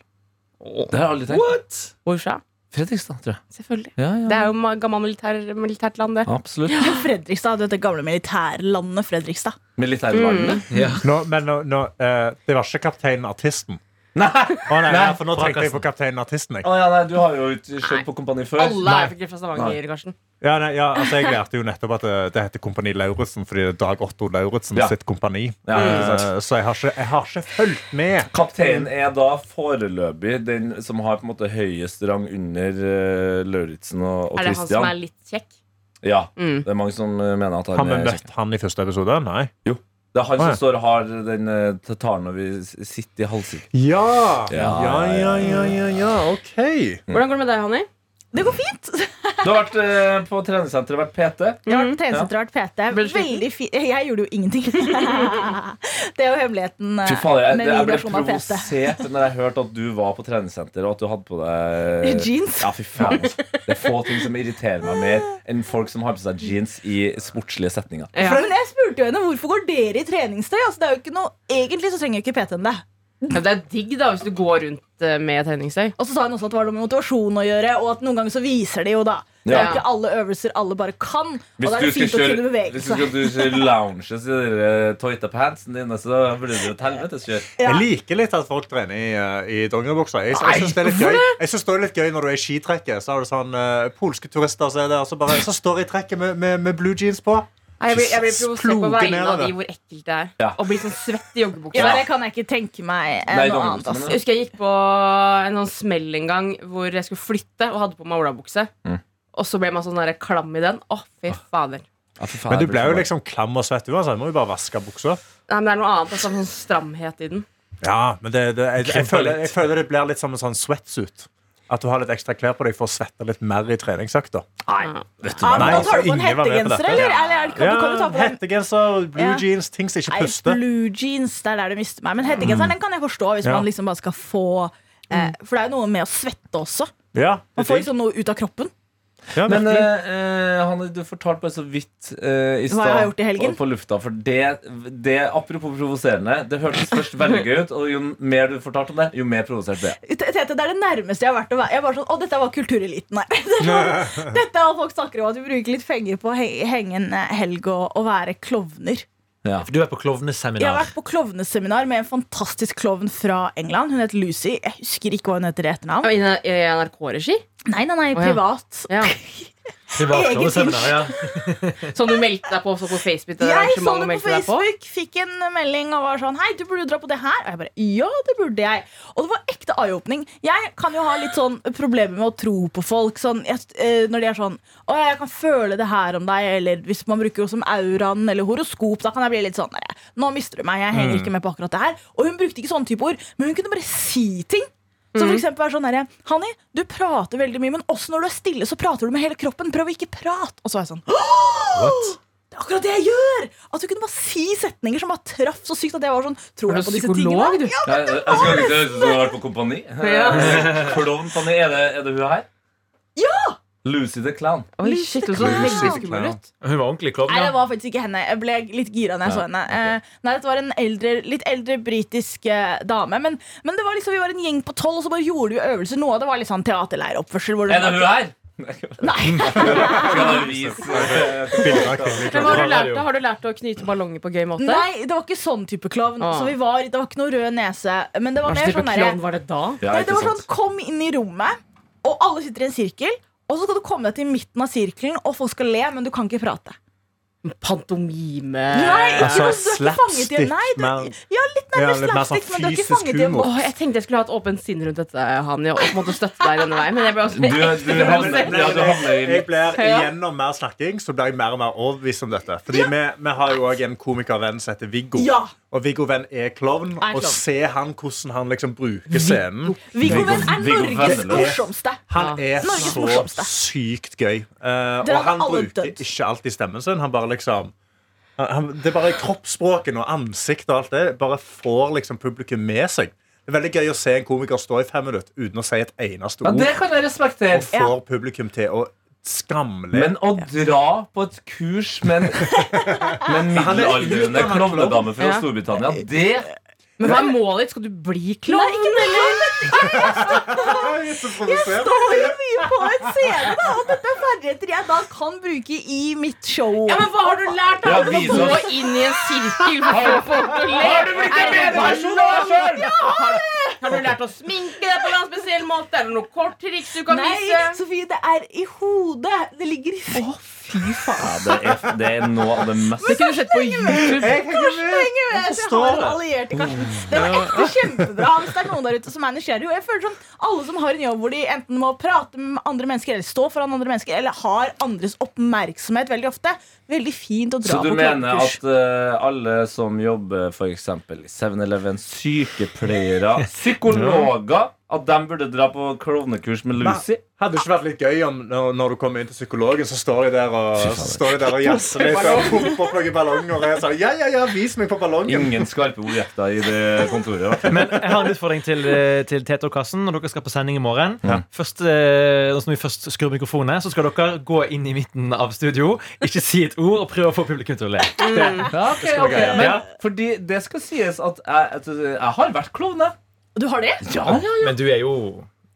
S2: Det har jeg aldri tenkt. What?
S5: Hvorfra?
S2: Fredrikstad, tror jeg.
S5: Selvfølgelig.
S2: Ja,
S5: Det
S2: ja,
S5: er jo ma- gammelt militær, militært land, det.
S2: Absolutt.
S8: Fredrikstad, det gamle militærlandet Fredrikstad.
S2: Militærvernene.
S3: Nå, men nå, nå, eh, det var ikke Kapteinen Artisten.
S5: Mm.
S2: Nei!
S3: Å, nei,
S4: Nei,
S3: nei, for nå tenkte jeg på Kapteinen Artisten. Jeg.
S2: Å ja, nei, du har jo ikke skjønt på Kompani før.
S5: Alle
S2: Nei.
S5: er ikke fra Stavanger, Karsten.
S3: Ja, nei, ja, altså, jeg lærte jo nettopp at det, det heter Kompani Lauritzen fordi det er Dag Otto Lauritzen
S2: Ja.
S3: sitt kompani.
S2: Ja, ikke
S3: Eh, så jeg har, ikke, jeg har ikke fulgt med.
S2: Kapteinen er da foreløpig den som har på en måte høyest rang under uh, Lauritzen og, og
S5: Er det han som
S2: Christian.
S5: er litt kjekk?
S2: Ja.
S5: Mm.
S2: Det er mange som eh, mener at
S3: Har
S2: han
S3: vi
S2: er kjekk.
S3: møtt han i første episode? Nei.
S2: Det er han
S3: Å,
S2: som
S3: ja.
S2: står og har den eh, tataren når vi s- sitter i halsen.
S3: Ja! Ja,
S2: Ja,
S3: ja, ja, ja, ja, OK.
S2: Mm.
S5: Hvordan går det med deg, Hanni?
S8: Det går fint!
S2: Du har vært eh, på treningssenteret, vært PT.
S8: Jeg har vært på treningssenter og vært PT.
S5: Ble du sliten?
S8: Veldig fi jeg gjorde jo ingenting. (laughs) det er jo hemmeligheten eh,
S2: Fy fader, jeg,
S8: med
S2: jeg
S8: min
S2: ble
S8: versjon av PT.
S2: provosert når jeg hørte at du var på treningssenteret, og at du hadde på
S8: I
S2: deg
S8: (laughs) Jeans.
S2: Ja, fy faen. altså. Det er få ting som irriterer meg mer enn folk som har på seg jeans i sportslige setninger.
S5: Ja.
S8: Men jeg spurte jo henne hvorfor går dere i treningstøy. Altså, det er jo ikke noe, egentlig så trenger jo ikke PT-en det.
S5: Ja, Det er digg, da, hvis du går rundt eh, med treningstøy.
S8: Og så sa hun også at det var noe med motivasjon å gjøre, og at noen ganger så viser de jo da. Det er
S2: Ja.
S8: jo ikke alle øvelser alle bare kan. Og da er det fint å kunne bevege
S2: hvis du
S8: seg.
S2: skal du kjøre lounges i de der tøyta pantsene dine, så blir det jo et helvetes kjør.
S8: Ja.
S3: Jeg liker litt at folk trener i, eh, i dongeribukser. Jeg, jeg syns det, er litt gøy. Jeg synes det er litt gøy når du er i skitrekket. Så har du sånn eh, polske turister som er der, så, bare, så står de i trekket med, med, med blue jeans på.
S5: Nei, Jeg blir, jeg blir provosert på
S3: Ploge
S5: vegne
S3: ned
S5: av
S3: av
S5: de
S3: det.
S5: hvor ekkelt det er.
S2: Ja.
S5: Å bli sånn svett i joggebuksa.
S8: Ja, men det kan jeg ikke tenke meg eh,
S2: Nei,
S8: noe
S2: dongeribukser,
S8: annet. Altså.
S2: mener
S5: Jeg husker jeg gikk på en sånn smell en gang hvor jeg skulle flytte og hadde på meg olabukse.
S2: Mm.
S5: Og så ble man sånn der klam i den. Å,
S2: Ah.
S5: fy fader.
S2: Ja, fy faen,
S3: Men du
S2: jeg
S3: ble
S2: så
S3: jo
S2: glad.
S3: liksom klam og svett uansett. Må jo bare vaske buksa.
S5: Nei, men Det er noe annet. Altså, sånn stramhet i den.
S3: Ja, men det, det, jeg, jeg,
S4: Krymper
S3: føler,
S4: litt.
S3: jeg føler det blir litt som en sånn sweatsuit. At du har litt ekstra klær på deg for å svette litt mer i treningsøkta.
S5: Nei.
S8: Ja, men
S3: Nei, altså,
S8: da tar du på en
S3: ingen var med på
S8: hettegenser,
S3: dette.
S8: eller? eller er det- kan, du- kan du ta
S3: Ja,
S8: på den?
S3: Hettegenser, blue
S8: Ja.
S3: jeans, ting som ikke
S8: Nei,
S3: puster.
S8: blue jeans, det er der det mister meg. Men hettegenseren den kan jeg forstå hvis
S3: Ja. Mm.
S8: man liksom bare skal få eh, For det er jo noe med å svette også.
S3: Ja, det
S8: Man får
S3: er digg.
S8: liksom noe ut av kroppen.
S3: Ja,
S2: Men
S3: virkelig.
S2: eh, eh, Hanne, du fortalte bare så vidt eh, i
S8: Hva jeg har gjort i
S2: stad
S8: helgen?
S2: på lufta. For det, det, apropos provoserende, det hørtes først veldig gøy ut, og jo mer du fortalte om det, jo mer provosert ble jeg.
S8: Ut- Tete, det er det nærmeste jeg har vært å være. Jeg var sånn, Å, dette var kultureliten her. (laughs) Det er sånn, dette er hva folk snakker om, at vi bruker litt penger på å he henge en eh, helg og, og være klovner.
S4: For du er på
S8: Jeg har
S4: klovneseminar.
S8: vært på klovneseminar med en fantastisk klovn fra England. Hun het Lucy. Jeg husker ikke hva hun heter i etternavn.
S5: I N- I NRK-regi?
S8: Nei, nei, nei,
S5: Å, ja.
S8: privat.
S5: Ja.
S4: Privat
S8: Eget
S4: klovneseminar, ja.
S5: Som du meldte deg på også på Facebook? Det
S8: Jeg så
S5: arrangementet
S8: det
S5: du
S8: på
S5: meldte deg
S8: Facebook, fikk en melding og var sånn Hei, du burde jo dra på det her. Og jeg bare Ja, det burde jeg. Og det var ekte eye-opening. Jeg kan jo ha litt sånn problemer med å tro på folk. Sånn, jeg, eh, når de er sånn Å, jeg kan føle det her om deg. Eller hvis man bruker jo som auraen eller horoskop, da kan jeg bli litt sånn
S5: Mm.
S8: Nå mister du meg. Jeg henger ikke med på akkurat det her. Og hun brukte ikke sånne type ord, men hun kunne bare si ting. Så
S5: Mm.
S8: for eksempel er det sånn herre Hanni, du prater veldig mye, men også når du er stille, så prater du med hele kroppen. Prøv å ikke prate. Og så er jeg sånn «Åh, Det er akkurat det jeg gjør! At du kunne bare si setninger som bare traff så sykt at jeg var sånn Tror
S5: Er
S8: jeg
S5: du
S8: på disse
S5: psykolog,
S8: tingene?
S5: du?
S8: Ja,
S2: Jeg, jeg skal ikke høre du har vært på Kompani. Klovnpani. Er, det- er det hun her? Ja! Lucy the Clown.
S5: Oi, shit, hun så veldig skummel ut.
S4: Hun var ordentlig klovn.
S8: Nei,
S4: ja.
S8: det var faktisk ikke henne. Jeg ble litt gira når
S2: Ja,
S8: jeg så henne. Eh, nei, Dette var en eldre, litt eldre britisk eh, dame. Men, men det var liksom, vi var en gjeng på tolv, og så bare gjorde vi øvelser. Noe av det var litt sånn teaterleiroppførsel. hvor det
S2: Er det hun her?
S8: Nei,
S2: Skal jeg vise
S5: Men har,
S4: Ja,
S5: du
S4: det er det
S5: lært,
S4: jo.
S5: deg- har du lært å knyte ballonger på gøy måte?
S8: nei, det var ikke sånn type klovn.
S5: Ah.
S8: Så vi var, Det var ikke noe rød nese. Men det
S5: Hva slags
S8: var mer
S5: type
S8: sånn derre-
S5: klovn var det da?
S2: Ja,
S8: Nei, det
S2: ikke
S8: var sånn,
S2: sant.
S8: kom inn i rommet, og alle sitter i en sirkel. Og så skal du komme deg til midten av sirkelen, og folk skal le, men du kan ikke prate.
S5: Pantomime
S8: Nei, ikke,
S3: Altså,
S8: sant, du er ikke fanget i en
S3: slapstick,
S8: Nei, du,
S3: men-
S8: ja, litt
S3: Ja, litt
S8: nærmere
S3: mer sånn
S8: slapstick, men du er ikke
S3: fysisk
S8: fanget i en
S3: humor.
S8: boks.
S5: Åh, jeg tenkte jeg skulle ha et åpent sinn rundt dette, Hani, og på en måte støtte deg denne veien. Men (laughs) jeg ble også
S2: Du, du,
S5: ekte
S2: havner,
S5: provosert.
S2: ja, du havner i
S3: Jeg blir
S5: Ja.
S3: Gjennom mer snakking så blir jeg mer og mer overbevist om dette. Fordi vi, vi har jo også en komikervenn som heter Viggo.
S8: Ja.
S3: Og Viggo Venn er klovn.
S8: Er
S3: Og
S8: klovn.
S3: se han hvordan han liksom bruker scenen.
S8: Viggo Venn er
S2: Viggo
S8: Norges
S2: Venn, det.
S8: morsomste.
S3: Han er
S8: Norges
S3: så
S8: morsomste.
S3: sykt gøy. Eh,
S8: hadde
S3: og han
S8: alle
S3: bruker
S8: dødd.
S3: ikke alltid stemmen sin. Han bare liksom han, han- Det er bare kroppsspråken og ansiktet og alt det bare får liksom publikum med seg. Det er veldig gøy å se en komiker stå i fem minutter uten å si et eneste
S2: Ja,
S3: ord.
S2: det kan jeg respektere.
S3: Og får publikum til å skamle.
S2: Men å dra på et kurs med en med en middelaldrende klovnedame fra
S5: Ja.
S2: Storbritannia, det
S5: Men hva er målet ditt? Skal du bli klovn?
S8: Det står jo mye på en scene, da, og dette er ferdigheter jeg da kan bruke i mitt show.
S5: Ja, men hva har du lært
S2: Ja,
S5: av det?
S2: vis
S5: Å gå
S2: oss.
S5: inn i en sirkel for å få folk til å le?
S2: Har du blitt en
S5: Er det
S2: bedre versjon av deg
S5: bare-
S2: selv?
S5: Har du lært å sminke deg på en spesiell måte? Er det noe kort triks du kan
S8: Nei,
S5: vise?
S8: Sofie, det er i hodet. Det ligger i oh,
S2: Ja, det, er, det er noe av det mest
S5: Det kunne du sett på YouTube.
S8: Jeg har allierte, Karsten. Det var ekte kjempebra. Hvis det er noen der ute som er nysgjerrig. Og jeg føler sånn, Alle som har en jobb hvor de enten må prate med andre mennesker, eller stå foran andre mennesker, eller har andres oppmerksomhet veldig ofte, veldig fint å dra
S2: Så du
S8: på
S2: mener
S8: klovnekurs.
S2: at eh, alle som jobber f.eks. i 7-Eleven, sykepleiere, psykologer, at de burde dra på klovnekurs med Lucy?
S3: Hadde det ikke vært litt gøy om når, når du kommer inn til psykologen, så står de der og, så står de der og jazzer litt og pumper opp noen ballonger og jeg sa ja, ja, ja, vis meg på ballongen.
S2: Ingen skarpe objekter i det kontoret. i hvert fall.
S4: Men jeg har en utfordring til, eh, til Tete og Karsten når dere skal på sending i morgen. Først, eh, altså når vi først skrur mikrofonene, så skal dere gå inn i midten av studio, ikke si et ord, og prøve å få publikum til å le.
S2: Ja, ok, ok.
S4: greie.
S2: Men
S4: Ja.
S2: fordi det skal sies at jeg, at jeg har vært klovn, jeg.
S8: Du har det?
S4: Men du er jo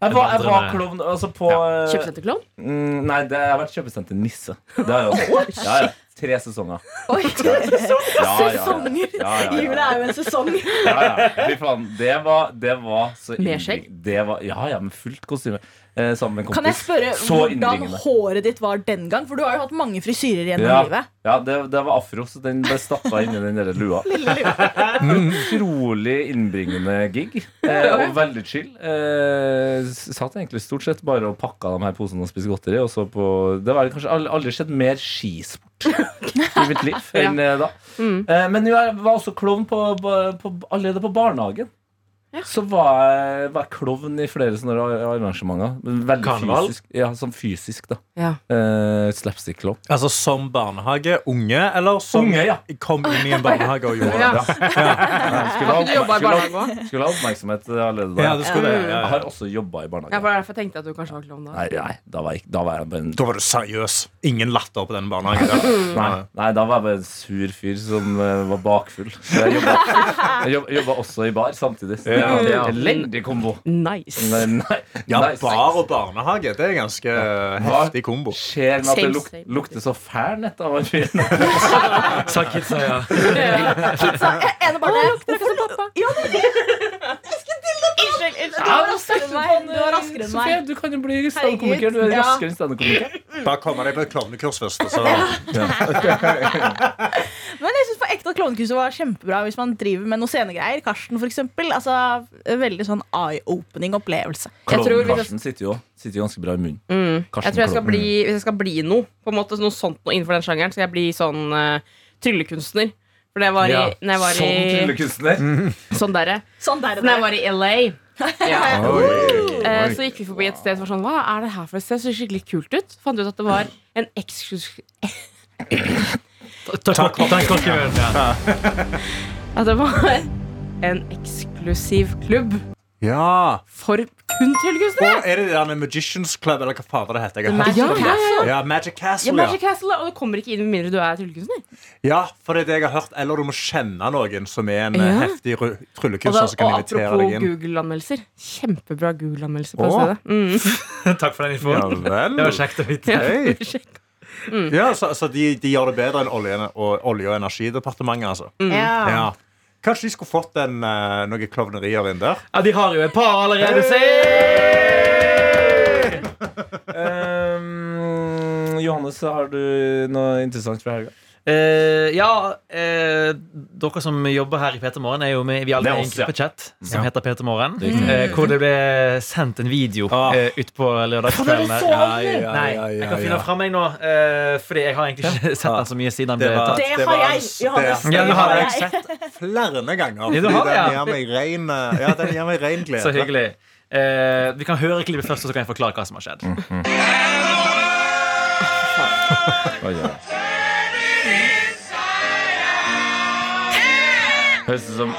S2: Jeg var, jeg var
S4: Vandrende.
S2: klovn altså på eh,
S5: Kjøpesenterklovn?
S2: mm, Nei, det, jeg har vært kjøpesenter Nisse. Det har jeg også. Ja, ja. Tre sesonger.
S5: (laughs)
S8: Oi,
S2: Ja, ja, ja.
S8: Sesonger!
S2: Ja, ja, ja.
S8: Jula er jo en sesong.
S2: Ja, ja. Fy faen. Det var, det var så
S5: Med skjegg?
S2: innbringende. Det var, ja, ja, med fullt kostyme. Eh, sammen med en kompis.
S8: Kan jeg spørre
S2: Så
S8: hvordan
S2: innbringende.
S8: håret ditt var den gang? For du har jo hatt mange frisyrer gjennom
S2: Ja,
S8: livet.
S2: ja det, det var afro, så den ble stappa inni den der lua. Mm, Utrolig innbringende gig. Eh, og veldig chill. Eh, s- satt egentlig stort sett bare og pakka de her posene og spiste godteri. Og så på, det var kanskje aldri, aldri skjedd mer skisport i mitt liv enn eh, da. Eh, men jeg var også klovn på, på, på, allerede på barnehagen. Så var jeg, var jeg klovn i flere sånne arrangementer. Men Veldig
S4: Karneval?
S2: fysisk. Ja, sånn fysisk, da.
S5: Ja.
S2: Eh, Slapstick-klovn.
S3: Altså som barnehageunge, eller
S2: Unge, ja.
S3: kom inn i en barnehage og gjorde
S5: Ja.
S2: Skulle
S5: Har ikke du jobba i
S2: skulle ha-
S5: barnehage òg?
S2: Skulle ha oppmerksomhet eh, allerede da.
S3: du skulle det.
S2: Jeg har også jobba i barnehage.
S5: Ja, for det er derfor jeg tenkte at du kanskje var klovn da.
S2: Nei, nei da, var jeg, ikke- da var jeg bare en
S3: Da var du seriøs. Ingen latter på den barnehagen.
S2: Nei, nei, da var jeg bare en sur fyr som eh, var bakfull. Så jeg jobba, jeg jobb- jobba også i bar samtidig. Så det
S3: Ja.
S2: var en Elendig kombo.
S5: Nice.
S2: Nei, nei,
S3: Ja,
S2: nei,
S3: bar og barnehage, det er en ganske eh, heftig kombo.
S2: Skjer med at det
S5: Same,
S2: luk
S5: same.
S2: lukter så fælt av han fyren.
S4: Sa kidsa, ja.
S8: Så jeg- ene barnet
S5: Unnskyld, unnskyld.
S8: Du var raskere enn meg. altså, Du var raskere enn meg.
S2: Sofie, du kan jo bli standup-komiker. Du er
S8: Ja.
S2: raskere enn standup-komiker.
S3: Bare komme deg på et klovnekurs først. og Så.
S8: Men jeg synes for ekte at Klovnekurset var kjempebra hvis man driver med noen scenegreier. Karsten, for eksempel. Altså, veldig sånn eye-opening opplevelse.
S5: Jeg tror
S2: Klovn
S5: vi-
S2: Karsten sitter jo sitter jo ganske bra i munnen.
S5: Mm.
S2: Karsten
S5: Jeg tror jeg skal
S2: Klovn.
S5: bli, hvis jeg skal bli noe, på en måte, noe sånt noe innenfor den sjangeren, skal jeg bli sånn eh, tryllekunstner. For det var i,
S4: Ja,
S5: når jeg var
S2: Sånn
S5: i
S2: tryllekunstner.
S5: Sånn derre.
S8: Sånn der
S5: Når jeg var i LA, Ja.
S6: Oi.
S5: Eh, Så gikk vi forbi et sted som var sånn Hva er det her for et sted? Så skikkelig kult ut. Fant ut at det var en eksklus...
S4: Ta kork- ta en kork i ølen, ja.
S5: At det var en eksklusiv klubb
S3: Ja.
S5: for kun tryllekunstnere.
S3: Og er det det der med Magicians Club, eller hva fader det heter? Jeg har
S5: Magic
S3: hørt om det.
S5: Castle.
S3: Ja, Magic
S5: Ja,
S3: Castle,
S5: Magic
S3: ja.
S5: Castle, og du kommer ikke inn med mindre du er tryllekunstner.
S3: ja. For det er det jeg har hørt. Eller du må kjenne noen som er en eh,
S5: Ja.
S3: heftig ru-
S5: Og, da,
S3: tryllekunstner som
S5: og
S3: kan invitere
S5: apropos
S3: deg inn.
S5: Google-anmeldelser. Kjempebra Google-anmeldelser på
S3: Åh.
S5: stedet. Mm.
S4: Takk for den
S3: Ja
S4: infoen.
S3: vel.
S4: Det var kjekt å vite.
S3: Hei.
S5: Sjekk.
S3: Ja, så, så de, de gjør det bedre enn Olje- og, olje- og energidepartementet, altså.
S8: Mm.
S3: Ja. Kanskje de skulle fått en, eh, noen klovnerier inn der?
S4: Ja, de har jo et par allerede. Se!
S2: Um, Johannes, har du noe interessant fra helga?
S4: Eh, ja, eh, dere som jobber her i Peter Morgen, er jo med vi er alle
S2: Det er
S4: med i en
S2: oss, ja.
S4: gruppechat som
S2: Ja.
S4: heter Peter Morgen. eh, hvor det ble sendt en video
S2: Ah.
S4: eh, ut på lørdagskvelden. der. Nei,
S6: ja, ja,
S4: jeg kan
S6: ja.
S4: finne fram meg nå, eh, Fordi jeg har egentlig ikke (laughs) sett den så mye siden den ble
S3: Det var-
S4: tatt.
S8: Det
S3: det
S8: har
S3: var-
S8: jeg, Johannes.
S3: det-
S4: Ja,
S3: det
S4: det har
S3: har
S4: jeg
S8: jeg.
S4: sett.
S3: Flere ganger.
S4: Ja, du har det,
S3: den
S4: ja.
S3: gir meg ren, eh, ja, den gir meg ren glede.
S4: Så hyggelig. Eh, vi kan høre klippet først, og så kan jeg forklare hva som har skjedd.
S2: Oi, oi. Høres ut som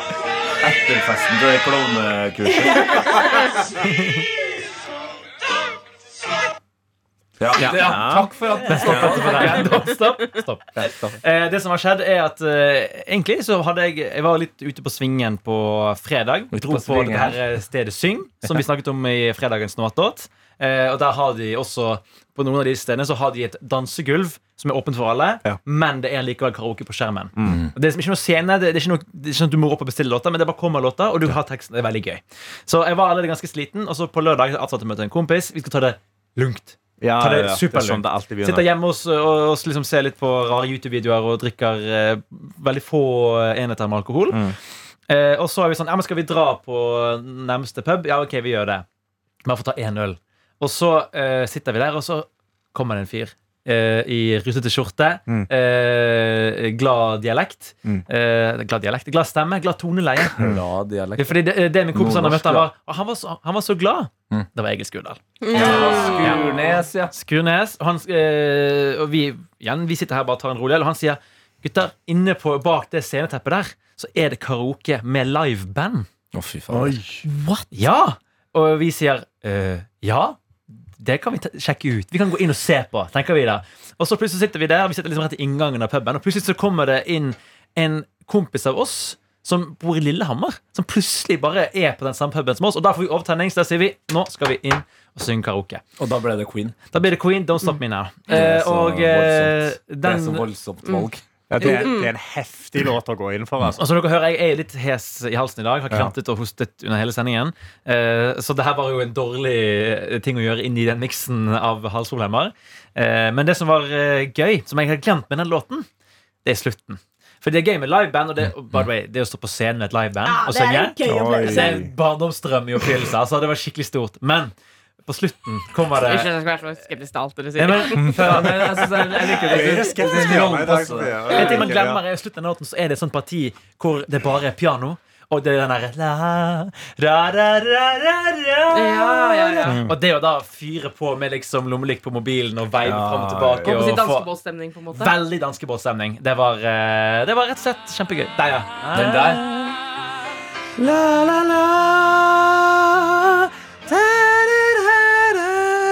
S2: etterfesten til det klovnekurset. Ja.
S4: Ja.
S2: ja, takk for at du stoppa.
S4: (laughs) Stopp, stopp, stopp. Eh, det som har skjedd, er at eh, egentlig så hadde jeg Jeg var litt ute på svingen på fredag.
S2: Ute
S4: Dro
S2: på
S4: på,
S2: svingen.
S4: det her eh, stedet Syng, som vi snakket om i fredagens Noatdot. Eh, og der har de også På noen av de stedene så har de et dansegulv som er åpent for alle,
S3: Ja.
S4: men det er likevel karaoke på skjermen.
S3: Mm.
S4: Og Det er liksom ikke noe scene, det det er ikke, noe, det er ikke sånn at du må opp og bestille låter, men det bare kommer låter, og du har teksten. Det er veldig gøy. Så jeg var allerede ganske sliten, og så på lørdag avtalte jeg å møte en kompis. Vi skal ta det lungt.
S3: Ja,
S4: Ta det
S3: ja, ja. Det er
S4: superløgn.
S3: sånn det alltid
S4: Sitter
S3: begynner.
S4: hjemme hos, og, og liksom ser litt på rare YouTube-videoer og drikker eh, veldig få enheter med alkohol.
S3: Mm.
S4: Eh, og så er vi sånn, ja, men skal vi dra på nærmeste pub? Ja, ok, vi gjør det. Man får ta én øl. Og så eh, sitter vi der, og så kommer det en fyr. eh, I russete skjorte.
S3: Mm.
S4: eh, glad dialekt.
S3: Mm.
S4: eh, glad dialekt. Glad stemme. Glad toneleie. (laughs)
S2: Ja,
S4: Det
S2: Mm. dialekt.
S4: er Fordi det, det min kompis han har
S2: Nordnorsk
S4: møtt, han var, han, var så, han var så glad.
S3: Mm.
S4: Det var Egil Skurdal.
S2: Skurnes, ja.
S4: Skurnes. og Han, eh, og vi, igjen, vi sitter her og bare tar en rolig øl, og han sier Gutter, inne på, bak det sceneteppet der Så er det karaoke med liveband.
S2: Å, fy faen.
S4: Ja! Og vi sier «Eh, ja. Det kan vi ta- sjekke ut. Vi kan gå inn og se på. tenker vi da Og så plutselig sitter vi der, vi sitter liksom rett i inngangen av puben, og plutselig så kommer det inn en kompis av oss som bor i Lillehammer. Som plutselig bare er på den samme puben som oss. Og da får vi overtenning, så da sier vi nå skal vi inn og synge karaoke.
S2: Og da ble det queen.
S4: Da blir det Queen, Don't Stop Me Now.
S2: Mm. Det
S4: Eh,
S2: er så
S4: og eh,
S2: voldsomt. Det er
S4: den
S2: så voldsomt valg.
S3: Ja, det, er, det er en heftig låt å gå inn for. Altså.
S4: og som dere hører, Jeg er litt hes i halsen i dag. Har krantet og hostet under hele sendingen. Eh, så det her var jo en dårlig eh, ting å gjøre inn i den miksen av halsproblemer. Eh, men det som var eh, gøy, som jeg har glemt med den låten, det er slutten. For det er gøy med liveband, og det,
S2: Mm.
S4: og by the way, det å stå på scenen med et liveband
S8: Ja, altså,
S4: og
S8: det er
S4: synge
S8: en
S3: Oi.
S8: gøy
S4: Det
S8: opplevelse.
S4: er en barndomsdrøm i oppfyllelse. Altså, det var skikkelig stort. Men på slutten kommer det
S5: Unnskyld, jeg skal være så skeptisk til alt dere
S4: Nei,
S5: sier.
S4: men,
S2: (laughs) Ja, men jeg synes jeg- jeg liker det.
S3: Jeg er
S2: Det- det-
S3: skeptisk
S2: det-
S3: til meg i dag,
S2: rollen passer.
S3: Sofie. Ja, jeg
S4: En ting man
S3: liker det, ja.
S4: glemmer er I slutten av låten så er det et sånt parti hvor det bare er piano. Og det er den derre la, ra, ra, ra, ra, ra.
S5: Ja, ja, ja.
S4: Og det å da fyre på med liksom lommelykt på mobilen og veive
S3: Ja,
S4: fram og tilbake
S5: Gå på
S4: og
S5: sin
S4: få
S5: danskebåtstemning, på en måte.
S4: Veldig danskebåtstemning. Det, var, eh, det var rett og slett kjempegøy. Der, ja.
S2: Den der.
S4: La, la, la. Da, da, da,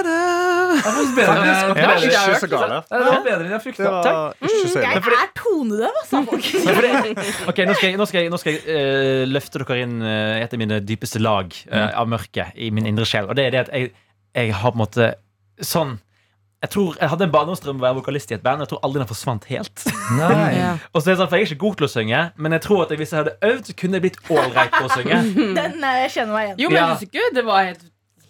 S4: da, da.
S2: Det var bedre enn jeg-
S3: Det var ikke så gale.
S2: Ja, det var bedre enn jeg frykta.
S3: Det var ikke så ille.
S8: Jeg er tonedøv, altså.
S4: Nei, for det, ok, Nå skal jeg, nå skal jeg, nå skal jeg eh, løfte dere inn eh, i et av mine dypeste lag eh, av mørket i min indre sjel. Og det er det at jeg, jeg har på en måte sånn Jeg tror jeg hadde en barndomsdrøm om å være vokalist i et band. og Jeg tror aldri den forsvant helt. (laughs)
S2: Nei.
S5: Ja.
S4: Og så er det sånn, for Jeg er ikke god til å synge, men jeg tror at hvis jeg hadde øvd, så kunne jeg blitt ålreit på å synge.
S8: (laughs) Den eh, kjenner meg igjen.
S5: Jo, men
S4: Ja.
S5: jeg synes ikke det var helt,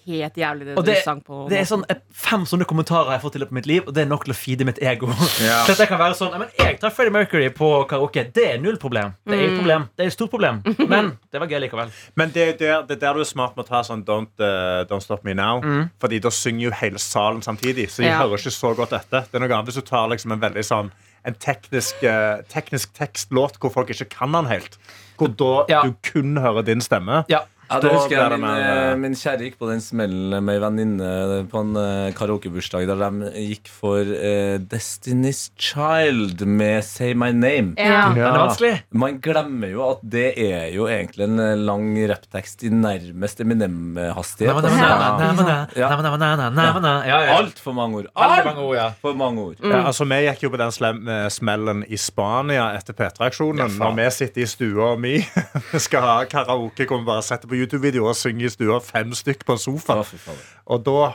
S5: helt jævlig det,
S4: Og det-
S5: du sang på.
S4: Det er sånn eh, Fem sånne kommentarer har jeg fått i løpet av mitt liv, og det er nok til å feede mitt ego.
S3: Ja.
S4: (laughs) Så at jeg kan være sånn, «Nei, men jeg tar Freddie Mercury på karaoke. Det er null problem. Det er et problem, det er et stort problem. Men det var gøy likevel.
S3: Men det er der, det er der du er smart med å ta sånn Don't, eh, don't Stop Me Now. Fordi da synger jo hele salen samtidig, så de
S5: Ja.
S3: hører ikke så godt etter. Det er noe annet hvis du tar liksom en veldig sånn en teknisk, eh, teknisk tekstlåt hvor folk ikke kan den helt. Hvor da
S4: Ja.
S3: du kun hører din stemme.
S4: Ja.
S2: Ja, det
S3: Da
S2: husker jeg
S3: ble det
S2: min,
S3: mer-
S2: eh, min kjære gikk på den smellen med ei venninne på en eh, karaokebursdag der de gikk for eh, Destiny's Child med Say My Name.
S5: Ja.
S4: Den er vanskelig.
S2: Man glemmer jo at det er jo egentlig en eh, lang rapptekst i nærmest Eminem-hastighet. Altså. Ja. Altfor mange ord. Altfor mange ord.
S3: Ja, altså, vi gikk jo på den slem, eh, smellen i Spania etter P3-aksjonen. når vi sitter i stua mi (laughs) skal ha karaoke, kommer bare og setter på YouTube-videoer og synger i stua fem stykk på en sofa.
S2: Å, fy faen.
S3: Og da,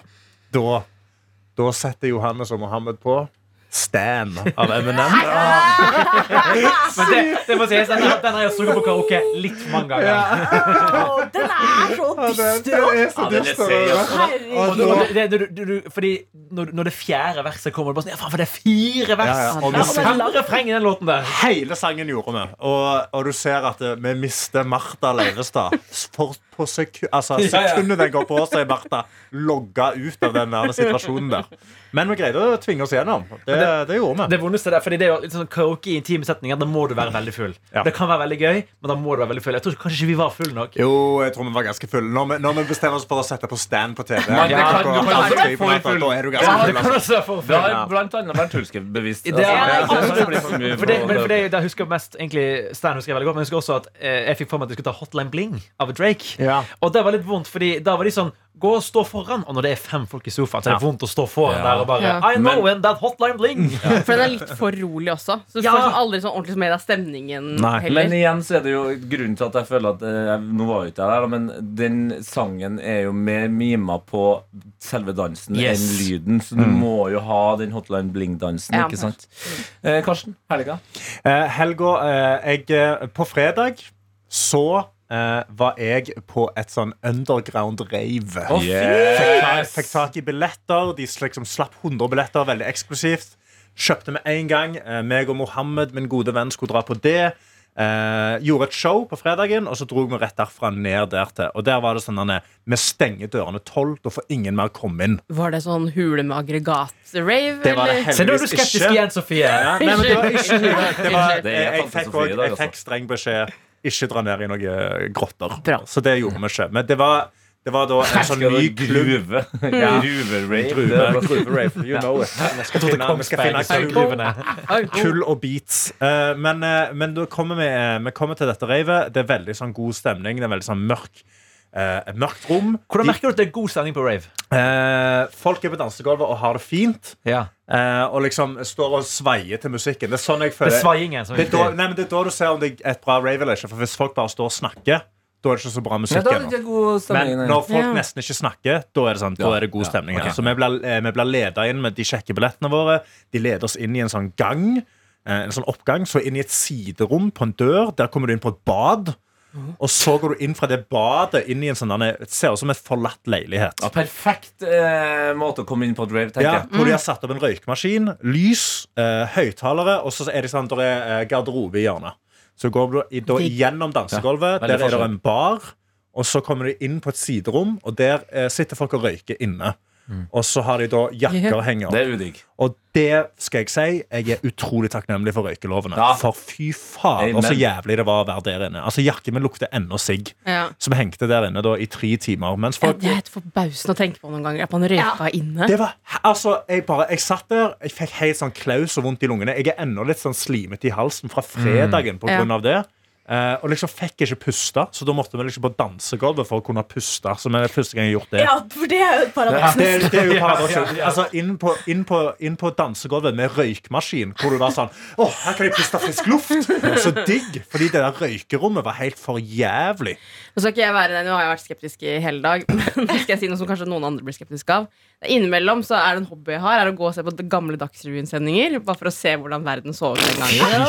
S3: da, da setter Johannes og Mohammed på Stan av Eminem.
S4: Men det, det må sies, den, den har jeg sunget på karaoke litt for mange ganger.
S8: Å, Den er så dyster!
S3: er altså.
S2: Ja, den er seriøs.
S3: dyster.
S4: Og du- og det, det, du, du, fordi når, når det fjerde verset kommer, det bare sånn, ja faen, for det er fire vers!
S3: Ja, ja. Og
S4: Det er
S3: vi-
S4: fem refreng i den låten der.
S3: Hele sangen gjorde vi. Og, og du ser at eh, vi mister Martha Leirestad. For på seku altså,
S2: Ja, ja.
S3: sekundet den går på, så er Martha logga ut av den der situasjonen der. Men vi greide å tvinge oss gjennom. Det, det gjorde vi.
S4: Det vondeste der, fordi det er jo litt sånn karaoke i intime setninger. Da må du være veldig full.
S3: Ja.
S4: Det kan være veldig gøy, men da må du være veldig full. Jeg tror kanskje ikke vi var full nok.
S3: Jo, jeg tror vi var ganske fulle. Når vi, når vi bestemmer oss for å sette på stand på TV,
S2: Men det
S4: kan-
S3: klokka
S4: du kan
S3: halv
S4: også
S3: tre på
S2: være
S3: natta,
S2: full.
S3: da er du
S4: Ja,
S3: ganske
S4: det
S3: full.
S4: kan
S3: altså.
S4: også være for
S2: Det
S4: full.
S2: har blant annet Bernt Hulske bevist.
S4: Det er-
S2: Altså, det blir for mye
S4: For det,
S2: på-
S4: men for det, det husker jeg mest egentlig Stan husker jeg veldig godt, men jeg husker også at eh, jeg fikk for meg at jeg skulle ta Hotline Bling av Drake.
S3: Ja.
S4: Og det var litt vondt, fordi da var de sånn Gå og stå foran. Og når det er fem folk i sofaen, så er det vondt å stå foran der og bare
S5: Ja.
S4: I know
S2: Men-
S4: when that hotline bling
S5: For den er litt for rolig også. Så du
S4: Ja.
S5: får sånn aldri sånn ordentlig med deg stemningen heller.
S2: Men igjen så er det jo grunnen til at jeg føler at eh, jeg- Nå var jo ikke jeg der, da, men den sangen er jo mer mima på selve dansen
S4: Yes.
S2: enn lyden. Så du
S3: Mm.
S2: må jo ha den Hotline Bling-dansen,
S5: Ja.
S2: ikke sant? Eh, Karsten, helga?
S3: Eh, helga, eh, jeg, eh, på fredag så eh, var jeg på et sånn underground-rave. Fikk, ta- fikk tak i billetter. De sl- liksom slapp 100 billetter, veldig eksklusivt. Kjøpte med en gang. Eh, meg og Mohammed, min gode venn, skulle dra på det. Eh, gjorde et show på fredagen, og så dro vi rett derfra ned der til. Og der var det sånn denne, Vi stenger dørene tolv, da får ingen mer komme inn.
S5: Var det sånn hule med aggregat-rave?
S3: Det var det
S5: eller?
S4: Se, nå er du
S3: heldigvis
S4: skeptisk
S3: ikke.
S4: igjen, Sofie.
S3: Ja, nei, men det var ikke det var,
S2: Det er
S3: jeg, jeg,
S2: tante
S3: fikk
S2: Sofie i
S3: også,
S2: dag,
S3: jeg
S2: altså.
S3: fikk streng beskjed ikke dra ned i noen grotter. Så det gjorde vi ikke. Men det var, det var da en sånn ny klubb.
S2: gruve.
S3: Ja.
S2: Gruve-rave.
S3: Druve,
S2: Det er-
S3: gruverave, you know it. (laughs) Vi skal
S4: Trodde
S3: finne, vi skal
S4: Kongsberg
S3: finne
S4: skulle
S3: kull-
S4: drive ned.
S3: kull og beats. Eh, men, eh, men da kommer vi, eh, vi kommer til dette ravet. Det er veldig sånn god stemning. Det er veldig sånn mørk. eh, et mørkt rom.
S4: Hvordan
S3: De-
S4: merker du at det er god stemning på rave?
S3: eh, folk er på dansegulvet og har det fint.
S4: Ja.
S3: eh, og liksom står og sveier til musikken. Det er sånn jeg
S4: Det
S3: føler
S4: er svaiingen som
S3: det
S4: er
S3: er, da,
S4: viktig.
S3: nei, men det er da du ser om det er et bra rave eller ikke. For Hvis folk bare står og snakker, da er det ikke så bra
S2: Nei,
S3: musikk.
S2: da er
S3: ennå.
S2: det sånn- ikke god stemning.
S3: men
S2: nei.
S3: når folk
S5: Ja.
S3: nesten ikke snakker, da er det, sånn, da
S2: Ja,
S3: er det god
S2: ja,
S3: stemning.
S2: ok.
S3: her. Så vi blir, eh, vi blir leda inn med de sjekker billettene våre. De leder oss inn i en sånn gang, eh, en sånn oppgang, så inn i et siderom på en dør. Der kommer du inn på et bad.
S2: Mhm.
S3: Og så går du inn fra det badet inn i en sånn derne- Det ser ut som en forlatt leilighet.
S2: Ja, perfekt eh, måte å komme inn på et rave, tenker
S3: Ja,
S2: jeg.
S3: hvor
S5: Mm.
S3: de har satt opp en røykmaskin, lys, eh, høyttalere, og så er det sånn, der er eh, garderobe i hjørnet. Så går du i- da gjennom
S2: veldig
S3: dansegulvet, der er det
S2: forskjell.
S3: en bar, og så kommer de inn på et siderom, og der eh, sitter folk og røyker inne.
S5: Mm.
S3: Og så har de da jakker
S2: Det
S3: henger opp.
S2: er udigg.
S3: Og det skal jeg si, jeg er utrolig takknemlig for røykelovene.
S2: Ja.
S3: For fy faen,
S2: Amen.
S3: så jævlig det var å være der inne. Altså, jakken min lukter ennå sigg,
S5: Ja.
S3: som hengte der inne da i tre timer. Mens
S5: Ja,
S3: folk
S5: det er helt forbausende å tenke på noen ganger. At man røyka inne.
S3: Det var, altså, jeg, bare, jeg satt der, jeg fikk helt sånn klaus og vondt i lungene. Jeg er ennå litt sånn slimete i halsen fra fredagen på
S5: Ja.
S3: grunn av det. Eh, og liksom fikk ikke puste, så da måtte vi liksom på dansegulvet for å kunne puste. Som er første gang jeg har gjort det.
S8: Ja, for det er jo et paradoks.
S3: Det, det er jo paradokset. Altså, inn på, inn, på, inn på dansegulvet med røykmaskin, hvor du var sånn Å, her kan jeg puste frisk luft! Så digg! Fordi det der røykerommet var helt for jævlig.
S5: Nå skal ikke jeg være den, nå har jeg vært skeptisk i hele dag, (laughs) men nå skal jeg si noe som kanskje noen andre blir skeptiske av. Innimellom så er det en hobby jeg har, er å gå og se på gamle Dagsrevyen-sendinger. Bare for å se hvordan verden så ut den gangen.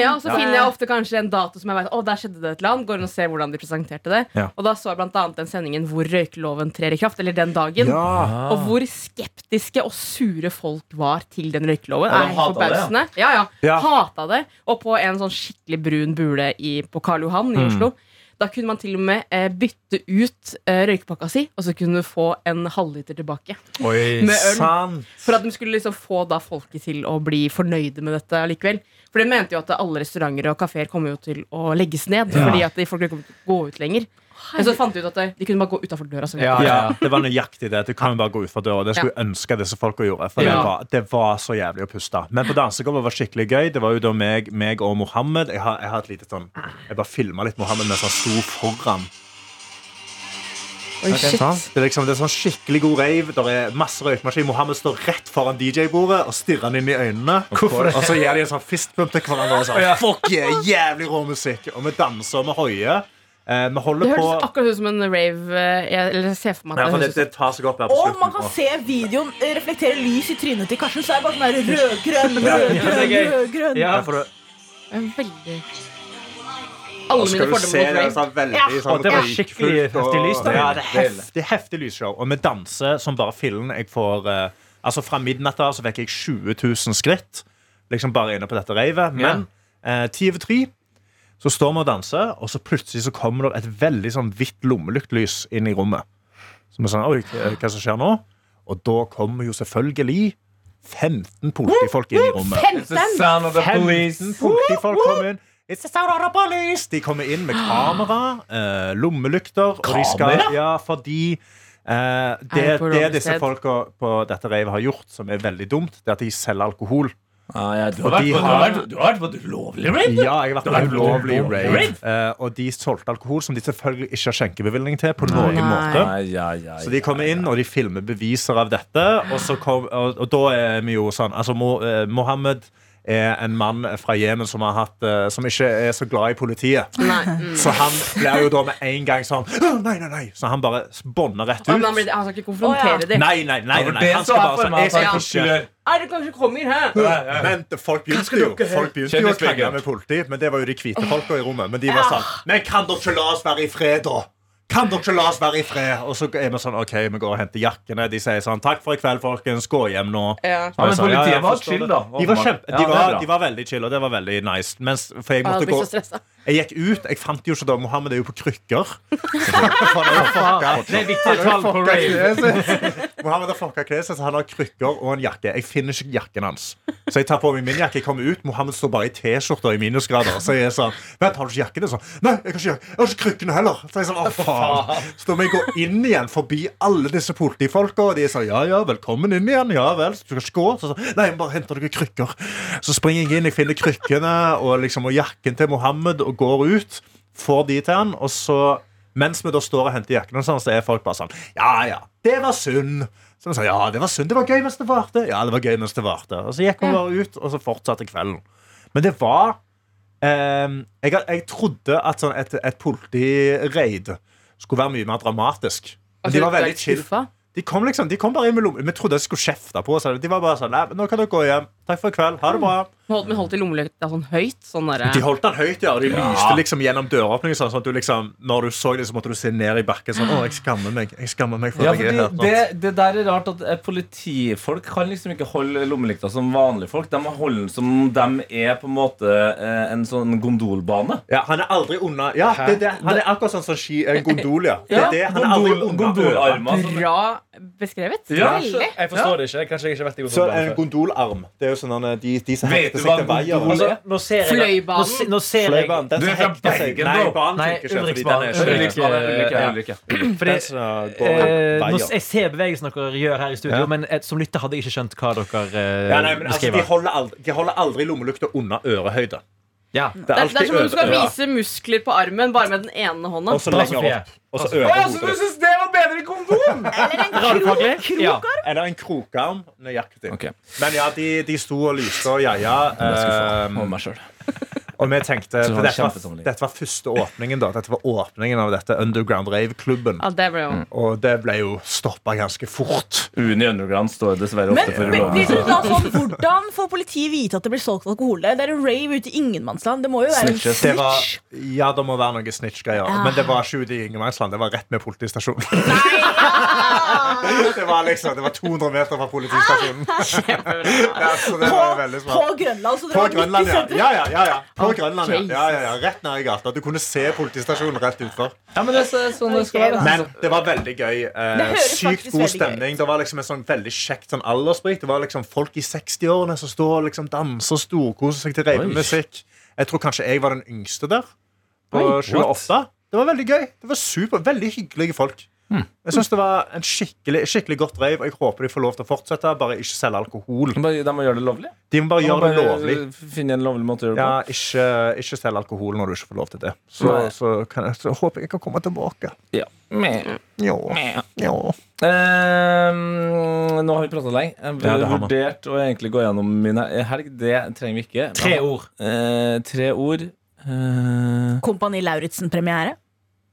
S5: Ja, og så finner jeg ofte kanskje en dato som jeg vet, å, der skjedde det et eller annet. Går inn og ser hvordan de presenterte det.
S3: Ja.
S5: Og da så jeg blant annet den sendingen hvor røykeloven trer i kraft, eller den dagen. Og hvor skeptiske og sure folk var til den røykeloven.
S2: Ja, de
S5: er helt
S2: hatet det, ja.
S5: forbausende. Ja, ja.
S3: Ja. Mm.
S5: Hata det. Og på en sånn skikkelig brun bule i, på Karl Johan i Oslo. Da kunne man til og med eh, bytte ut eh, røykpakka si, og så kunne du få en halvliter tilbake.
S4: Oi,
S5: Med øl.
S4: sant.
S5: For at de skulle liksom få da folket til å bli fornøyde med dette likevel. For de mente jo at alle restauranter og kafeer kommer jo til å legges ned. Fordi at de folk ikke kommer til å gå ut lenger. Men så fant de ut at de kunne bare gå utafor døra. Som
S4: Ja, ja.
S3: Ja, det var nøyaktig det. Du kan jo bare gå ut fra døra. Det skulle jeg ønske disse folka gjorde. For det,
S5: Ja.
S3: var, det var så jævlig å puste. Men på dansegulvet var det skikkelig gøy. Det var jo da meg, meg og Mohammed. Jeg har, jeg har et lite sånn Jeg bare filma litt Mohammed mens han sto foran.
S5: Oi, shit.
S3: Sant? Det er liksom det er sånn skikkelig god rave. Der er masse røykmaskin. Mohammed står rett foran DJ-bordet og stirrer han inn i øynene. Og så gir de en sånn fistbump til hverandre og sånn Fuck yeah, jævlig rå musikk. Og vi danser og vi hoier. Eh, vi
S5: Det
S3: holder på
S5: høres akkurat ut som en rave. eh, Jeg, eller jeg ser for meg
S3: ja,
S5: at
S3: for det,
S5: det,
S3: det tar seg opp her på
S8: Og
S3: slutten.
S8: man kan
S3: Åh.
S8: se videoen eh, reflektere lys i trynet til Karsten. Så er det bare sånn der rødgrønn,
S4: det er
S8: rødgrønn,
S4: gøy.
S8: rødgrønn.
S4: Ja.
S3: Ja, for det-
S5: høres veldig
S3: Og
S5: Alle
S3: så
S5: mine
S3: skal du se
S5: fordommer
S3: det
S5: mot rave.
S3: sånn veldig
S8: Ja.
S3: sånn
S4: Og det var
S3: røykfullt
S4: skikkelig heftig lys, da.
S3: Ja, det er heftig, heftig lysshow. Og vi danser som bare fillen. Jeg får eh, Altså, fra midnatt av så fikk jeg 20 000 skritt. Liksom bare inne på dette ravet. Men eh, ti over tre så står vi og danser, og så plutselig så kommer det et veldig sånn hvitt lommelyktlys inn i rommet. Så vi er sånn Oi, hva som skjer nå? Og da kommer jo selvfølgelig 15 politifolk inn i rommet.
S2: It's the sound of the police.
S3: 15 politifolk kom inn. It's the sound of the police! De kommer inn med kamera, eh, lommelykter. Og de skal, ja, fordi eh, det,
S5: Er det på
S3: det
S5: lovlig
S3: disse
S5: sted?
S3: folka på dette reivet har gjort, som er veldig dumt, det er at de selger alkohol.
S2: Ah, ja, du,
S3: Og
S2: har vært
S3: de
S2: på, du, har
S3: har-
S2: vært, du har vært på et ulovlig raid.
S3: Ja, jeg har vært på
S2: Det er
S3: ulovlig
S2: ulovlig
S3: rave. Eh, og de solgte alkohol som de selvfølgelig ikke har skjenkebevilgning til. på noen
S5: Nei.
S3: måte.
S2: Ai, ai, ai,
S3: Så de kommer
S2: ai,
S3: inn, og de filmer beviser av dette. Og, så kom, og, og da er vi jo sånn Altså, Mo- eh, Mohammed er en mann fra Jemen som, har hatt, eh, som ikke er så glad i politiet.
S5: Nei, mm.
S3: Så han blir jo da med en gang sånn «Åh, Nei, nei, nei! Så han bare bånder rett ut.
S5: Men han, blir, han skal ikke konfrontere
S8: Å, ja.
S5: dem.
S3: Nei, nei, nei, nei,
S2: Det var
S3: nei.
S2: det
S3: Han
S2: som
S3: skal
S2: var
S3: bare
S2: for
S3: sånn
S2: meg,
S3: Jeg skal
S2: at jeg
S3: ikke
S2: ikke-
S5: Er det kanskje kommer her?
S3: men folk begynte jo Folk begynte jo å
S2: Kjendisveggen.
S3: krangle med politi, men det var jo de hvite folka i rommet. Men de var sånn Men kan dere ikke la oss være i fred, da? Kan dere ikke la oss være i fred? Og så er vi sånn OK, vi går og henter jakkene. De sier sånn Takk for i kveld, folkens. Gå hjem nå.
S2: Ja,
S5: Ja.
S2: men
S3: Så jeg sa,
S2: politiet
S3: jeg
S2: var
S3: forstår
S2: chill,
S3: det.
S2: da.
S3: De var, kjempe,
S2: Ja,
S3: de,
S2: det er
S3: var,
S2: bra.
S3: de var veldig chill, og det var veldig nice. Mens, for jeg måtte
S5: Jeg blir
S3: gå
S5: så stressa.
S3: Jeg gikk ut. Jeg fant jo ikke da Mohammed er jo på
S5: (laughs)
S3: krykker. For det var fucka.
S4: Det er viktige tall på rave.
S3: Mohammed har fucka kneet sitt, så han har krykker og en jakke. Jeg finner ikke jakken hans. Så jeg tar på meg min jakke, jeg kommer ut, Mohammed står bare i T-skjorte i minusgrader. Så jeg er sånn Vent, har du ikke jakken? din?» Sånn, Nei, jeg har ikke jakke. Jeg har ikke krykkene heller. Så jeg er sånn, å faen. Så da må jeg gå inn igjen forbi alle disse politifolka, og de er sånn Ja ja, velkommen inn igjen. Ja vel. Du skal skå. Så, sånn, Nei, jeg må bare henter noen krykker. Så springer jeg inn, jeg finner krykkene og, liksom, og jakken til Mohammed og går ut. Får de til han, og så mens vi da står og henter jakkene, og sånn, så er folk bare sånn Ja, ja, det var synd. Så vi sa, ja, det var synd, det var gøy mens det varte. Ja, det var gøy mens det varte. Og så gikk vi bare ut, og så fortsatte kvelden. Men det var ehm, jeg, had- jeg trodde at sånn et, et politireid skulle være mye mer dramatisk.
S5: Altså,
S3: Men de var veldig chill. De kom, liksom, de kom bare inn med lommen. Vi trodde de skulle kjefte på oss. eller- De var bare sånn Nei, nå kan dere gå hjem. Takk for i kveld. Ha det bra.
S5: Holdt, men holdt i lommelykta sånn høyt? Sånn derre-
S3: De holdt den høyt, ja, og de lyste liksom gjennom døråpningen. Sånn, sånn at du liksom, når du så det, så måtte du se ned i bakken sånn Å, jeg skammer meg. Jeg skammer meg for
S2: Ja,
S3: at jeg er her. sånn.
S2: fordi det, det der er rart at eh, politifolk kan liksom ikke holde lommelykta som vanlige folk. De må holde den som om de er på en måte eh, en sånn gondolbane.
S3: Ja, han er aldri unna Ja, det, er det, han er akkurat sånn som ski, eh, gondol, ja. Det er det, han er aldri
S2: gondol,
S3: unna øret.
S2: gondolarmer. som-
S5: Bra beskrevet.
S2: Ja,
S5: Veldig.
S2: skjø-
S4: Jeg forstår det ikke. Kanskje jeg ikke har vært i
S3: Så
S4: Oslo
S3: en gondolarm. Det er jo sånn han er- de, de som
S2: Vet du
S3: hekter seg
S2: hva
S3: til veier.
S2: gondol
S4: Altså, nå ser jeg
S5: Fløibanen.
S4: nå, se- nå ser jeg
S3: Fløibanen, den
S2: Du
S3: som
S2: er fra
S3: hekter seg-
S2: Bergen,
S3: Nei,
S2: da.
S3: banen
S4: Nei,
S3: funker ikke, fordi den
S4: Ulriksbanen.
S3: er ikke-
S2: Ulriksbane, Ulrikke,
S4: Ja.
S2: Ulrikke.
S4: Fordi,
S3: Den som går
S4: eh, nå,
S3: veier.
S4: jeg ser bevegelsen dere gjør her i studio,
S3: Ja.
S4: men eh, som lytter hadde jeg ikke skjønt hva dere eh,
S3: Ja, nei, men altså, de,
S4: beskriver.
S3: holder aldri, de holder aldri lommelykta unna ørehøyde.
S4: Ja.
S3: Det
S5: Det er, det er som om du skal
S3: øvre øre,
S5: vise muskler på armen bare med den ene hånda.
S3: og så
S4: Bra,
S3: lenger
S4: Sofie.
S3: opp. Og så
S2: Å,
S3: over
S2: ja, så du
S3: hodet.
S2: syns det var bedre enn kondom?
S4: Radiofaglig? Ja.
S3: Eller en krokarm nøyaktig.
S2: Ok.
S3: Men ja, de, de sto og lyste og jaja.
S2: Må
S3: Eh,
S2: meg selv.
S3: og vi tenkte
S2: Så det var
S3: for dette, var,
S2: kjempesamling.
S3: dette var første åpningen da Dette var åpningen av dette Underground Rave-klubben.
S5: Ja, det ble jo
S3: Og det ble jo stoppa ganske fort.
S2: Uni Underground står dessverre
S8: Men,
S2: ofte for
S8: men
S2: ulovlig.
S8: hvis du da sånn, hvordan får politiet vite at det blir solgt alkohol? der? Det er en rave ute i ingenmannsland. Det må jo være en
S2: Snitches.
S3: Det
S8: snitch.
S3: var, ja, det må være noe snitch-greier. Men det var ikke ute i Ingemannsland. Det var rett med politistasjonen. (laughs) Det var liksom, det var 200 meter fra politistasjonen. Ja, så det var veldig
S8: På, på
S3: smart.
S8: Grønland, så dere
S3: På
S8: var midt i
S3: Grønland, ja.
S8: sentrum.
S3: Ja, ja, ja, ja. På Grønland, ja. ja, ja, ja. Rett ned i gata. Du kunne se politistasjonen rett utfor.
S2: Ja, men det er sånn det skal være.
S3: Men det var veldig gøy. Eh,
S8: Altså- Det høres
S3: sykt
S8: faktisk
S3: god
S8: veldig gøy
S3: stemning. Det var liksom en sånn veldig kjekt sånn alderssprit. Det var liksom folk i 60-årene som står og liksom danser og storkoser seg til reivemusikk. Jeg tror kanskje jeg var den yngste der. På
S2: Oi,
S3: 28. Det var veldig gøy. Det var super, Veldig hyggelige folk.
S2: Hmm.
S3: Jeg synes Det var en skikkelig, skikkelig godt reiv, og jeg håper de får lov til å fortsette. Bare ikke selge alkohol.
S2: Bare- De må gjøre det lovlig.
S3: De må bare
S2: De må
S3: gjøre det
S2: bare
S3: lovlig.
S2: Finne en lovlig måte å gjøre det på.
S3: Ja, ikke, ikke selg alkohol når du ikke får lov til det. Så,
S2: Nei.
S3: så, kan jeg, så håper jeg jeg kan komme tilbake.
S2: Ja. Meh.
S3: Jo.
S2: Meh.
S3: Jo.
S2: Ehm, nå har vi prata lenge. Jeg
S3: Ja, det har vi.
S2: vurdert å egentlig gå gjennom min helg. Det trenger vi ikke. Men-
S4: Tre ord.
S2: Eh, tre ord. Eh,
S8: Kompani Lauritzen-premiere.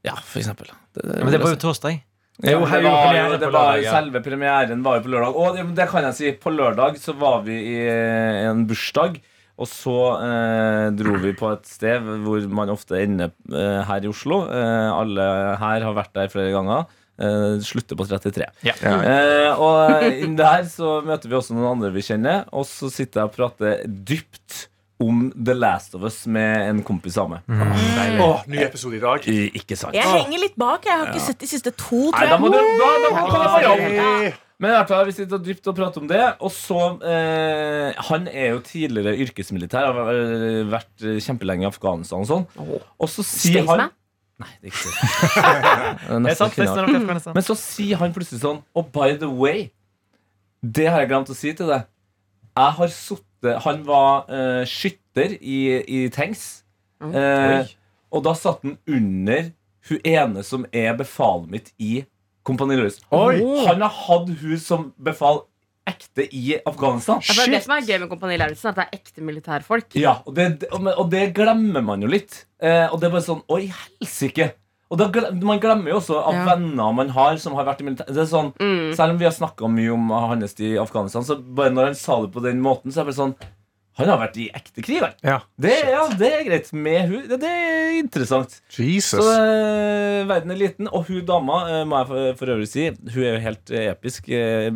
S2: ja, for eksempel. Det,
S4: Men det var jo torsdag.
S2: Ja,
S4: Jo,
S2: men
S4: her
S2: det
S4: gjorde
S2: var,
S4: premieren
S2: jo-
S4: på
S2: det var jo
S4: lørdag, ja.
S2: selve premieren var jo på lørdag. Og det, det kan jeg si. På lørdag så var vi i en bursdag. Og så eh, dro vi på et sted hvor man ofte ender eh, her i Oslo. Eh, alle her har vært der flere ganger. Eh, slutter på 33.
S4: Ja.
S2: Eh, og inn der så møter vi også noen andre vi kjenner, og så sitter jeg og prater dypt om The Last of Us med en kompis av meg.
S4: Mm.
S3: Åh, ny episode i dag.
S2: I- Ikke sant?
S8: Jeg henger litt bak. Jeg har ikke sett de siste
S2: Nei,
S8: to, tror
S2: da må du,
S8: jeg.
S2: da, da må du komme
S8: Ah.
S2: på jobb.
S3: Hey.
S2: Men i hvert fall, vi sitter dypt og prater om det. Og så eh, Han er jo tidligere yrkesmilitær, har væ- vært eh, kjempelenge i Afghanistan og sånn. Og så sier han
S5: Staysman?
S2: Nei, det (laughs) er ikke det. Det er
S4: Det
S2: nesten
S4: er sant,
S2: ikke det.
S4: festen er nok i Afghanistan.
S2: Men så sier han plutselig sånn Og by the way Det har jeg glemt å si til deg Jeg har suttet Han var eh, skytter i, i tanks Eh, Og da satt han under Hun ene som er befalet mitt i Kompani Løs Han har hatt hun som befal Ekte i Afghanistan
S5: Ja, for Det er det som er gøy med Kompani Lauritzen, at det er ekte militærfolk.
S2: ja, og det, og- men- og det glemmer man jo litt. Eh, og det er bare sånn Oi, helsike! Og da glem, man glemmer jo også av
S5: Ja.
S2: venner man har som har vært i militæret. Det er sånn, Selv om vi har snakka mye om hans tid i Afghanistan, så bare når han sa det på den måten, så er det bare sånn Han har vært i ekte krig, han.
S3: Ja.
S2: Det, ja, det er greit. Med hun Det, det er interessant. Så
S6: Jesus.
S2: eh, verden er liten, og hun dama, eh, må jeg for, for øvrig si, hun er jo helt eh, episk. Eh,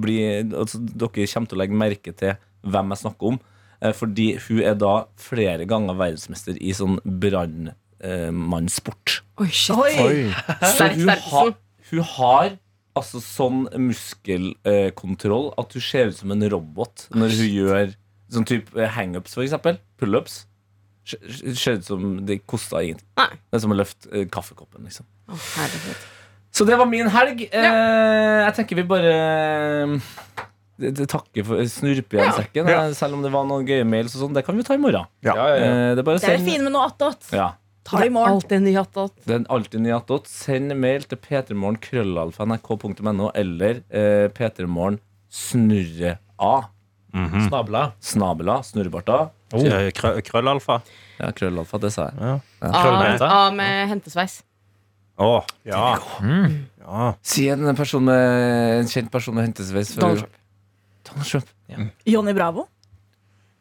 S2: bli, altså, dere kommer til å legge merke til hvem jeg snakker om, eh, fordi hun er da flere ganger verdensmester i sånn brannmannssport.
S5: Oi, shit.
S8: Oi.
S2: Så
S5: Sterk
S2: hun, ha,
S5: Sterkelsen.
S2: hun har altså sånn muskelkontroll at hun ser ut som en robot når hun gjør sånn type hangups, for eksempel. Pullups. Ser- Ser ut som det kosta ingenting.
S5: Nei.
S2: Det er som å løfte eh, kaffekoppen, liksom.
S5: Å, herregud.
S2: Så det var min helg. Eh, jeg tenker vi bare eh, det- det takker for snurpe igjen sekken.
S3: Ja.
S2: eh, Selv om det var noen gøye mails og sånn. Det kan vi ta i morgen.
S3: Ja.
S2: Eh, det er bare å
S8: Det er det
S2: sende-
S8: fine med noe attåt.
S2: Ja.
S8: Ta det i morgen.
S5: Alltid en ny hatt og
S2: Det er alltid nyattot. Send mail til p3morgen.krøllalfa.nrk.no eller eh, p3morgen snurre a.
S4: Snabla.
S2: Snabela. Snurrebarta.
S3: Eh, krø- Krøllalfa.
S2: Ja, krøllalfa. Det sa jeg.
S5: A,
S4: Krøllbeita.
S5: A med hentesveis.
S3: Åh, ja. ja.
S2: Si en, person med, en kjent person med hentesveis. for-
S5: Donald Trump.
S2: Donald Trump.
S8: Johnny Bravo.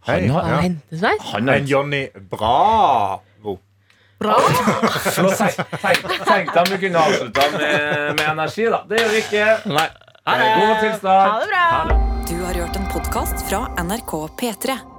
S3: Hei.
S2: Han har,
S3: Ja.
S5: Hentesveis?
S2: han har
S3: En Johnny Bravo.
S8: Bra.
S2: Flott. Tenk- Tenkte om vi kunne avslutta med, med energi, da. Det gjør vi ikke. Eh, God tilstand.
S8: Ha det bra.
S1: Du har hørt en podkast fra NRK P3.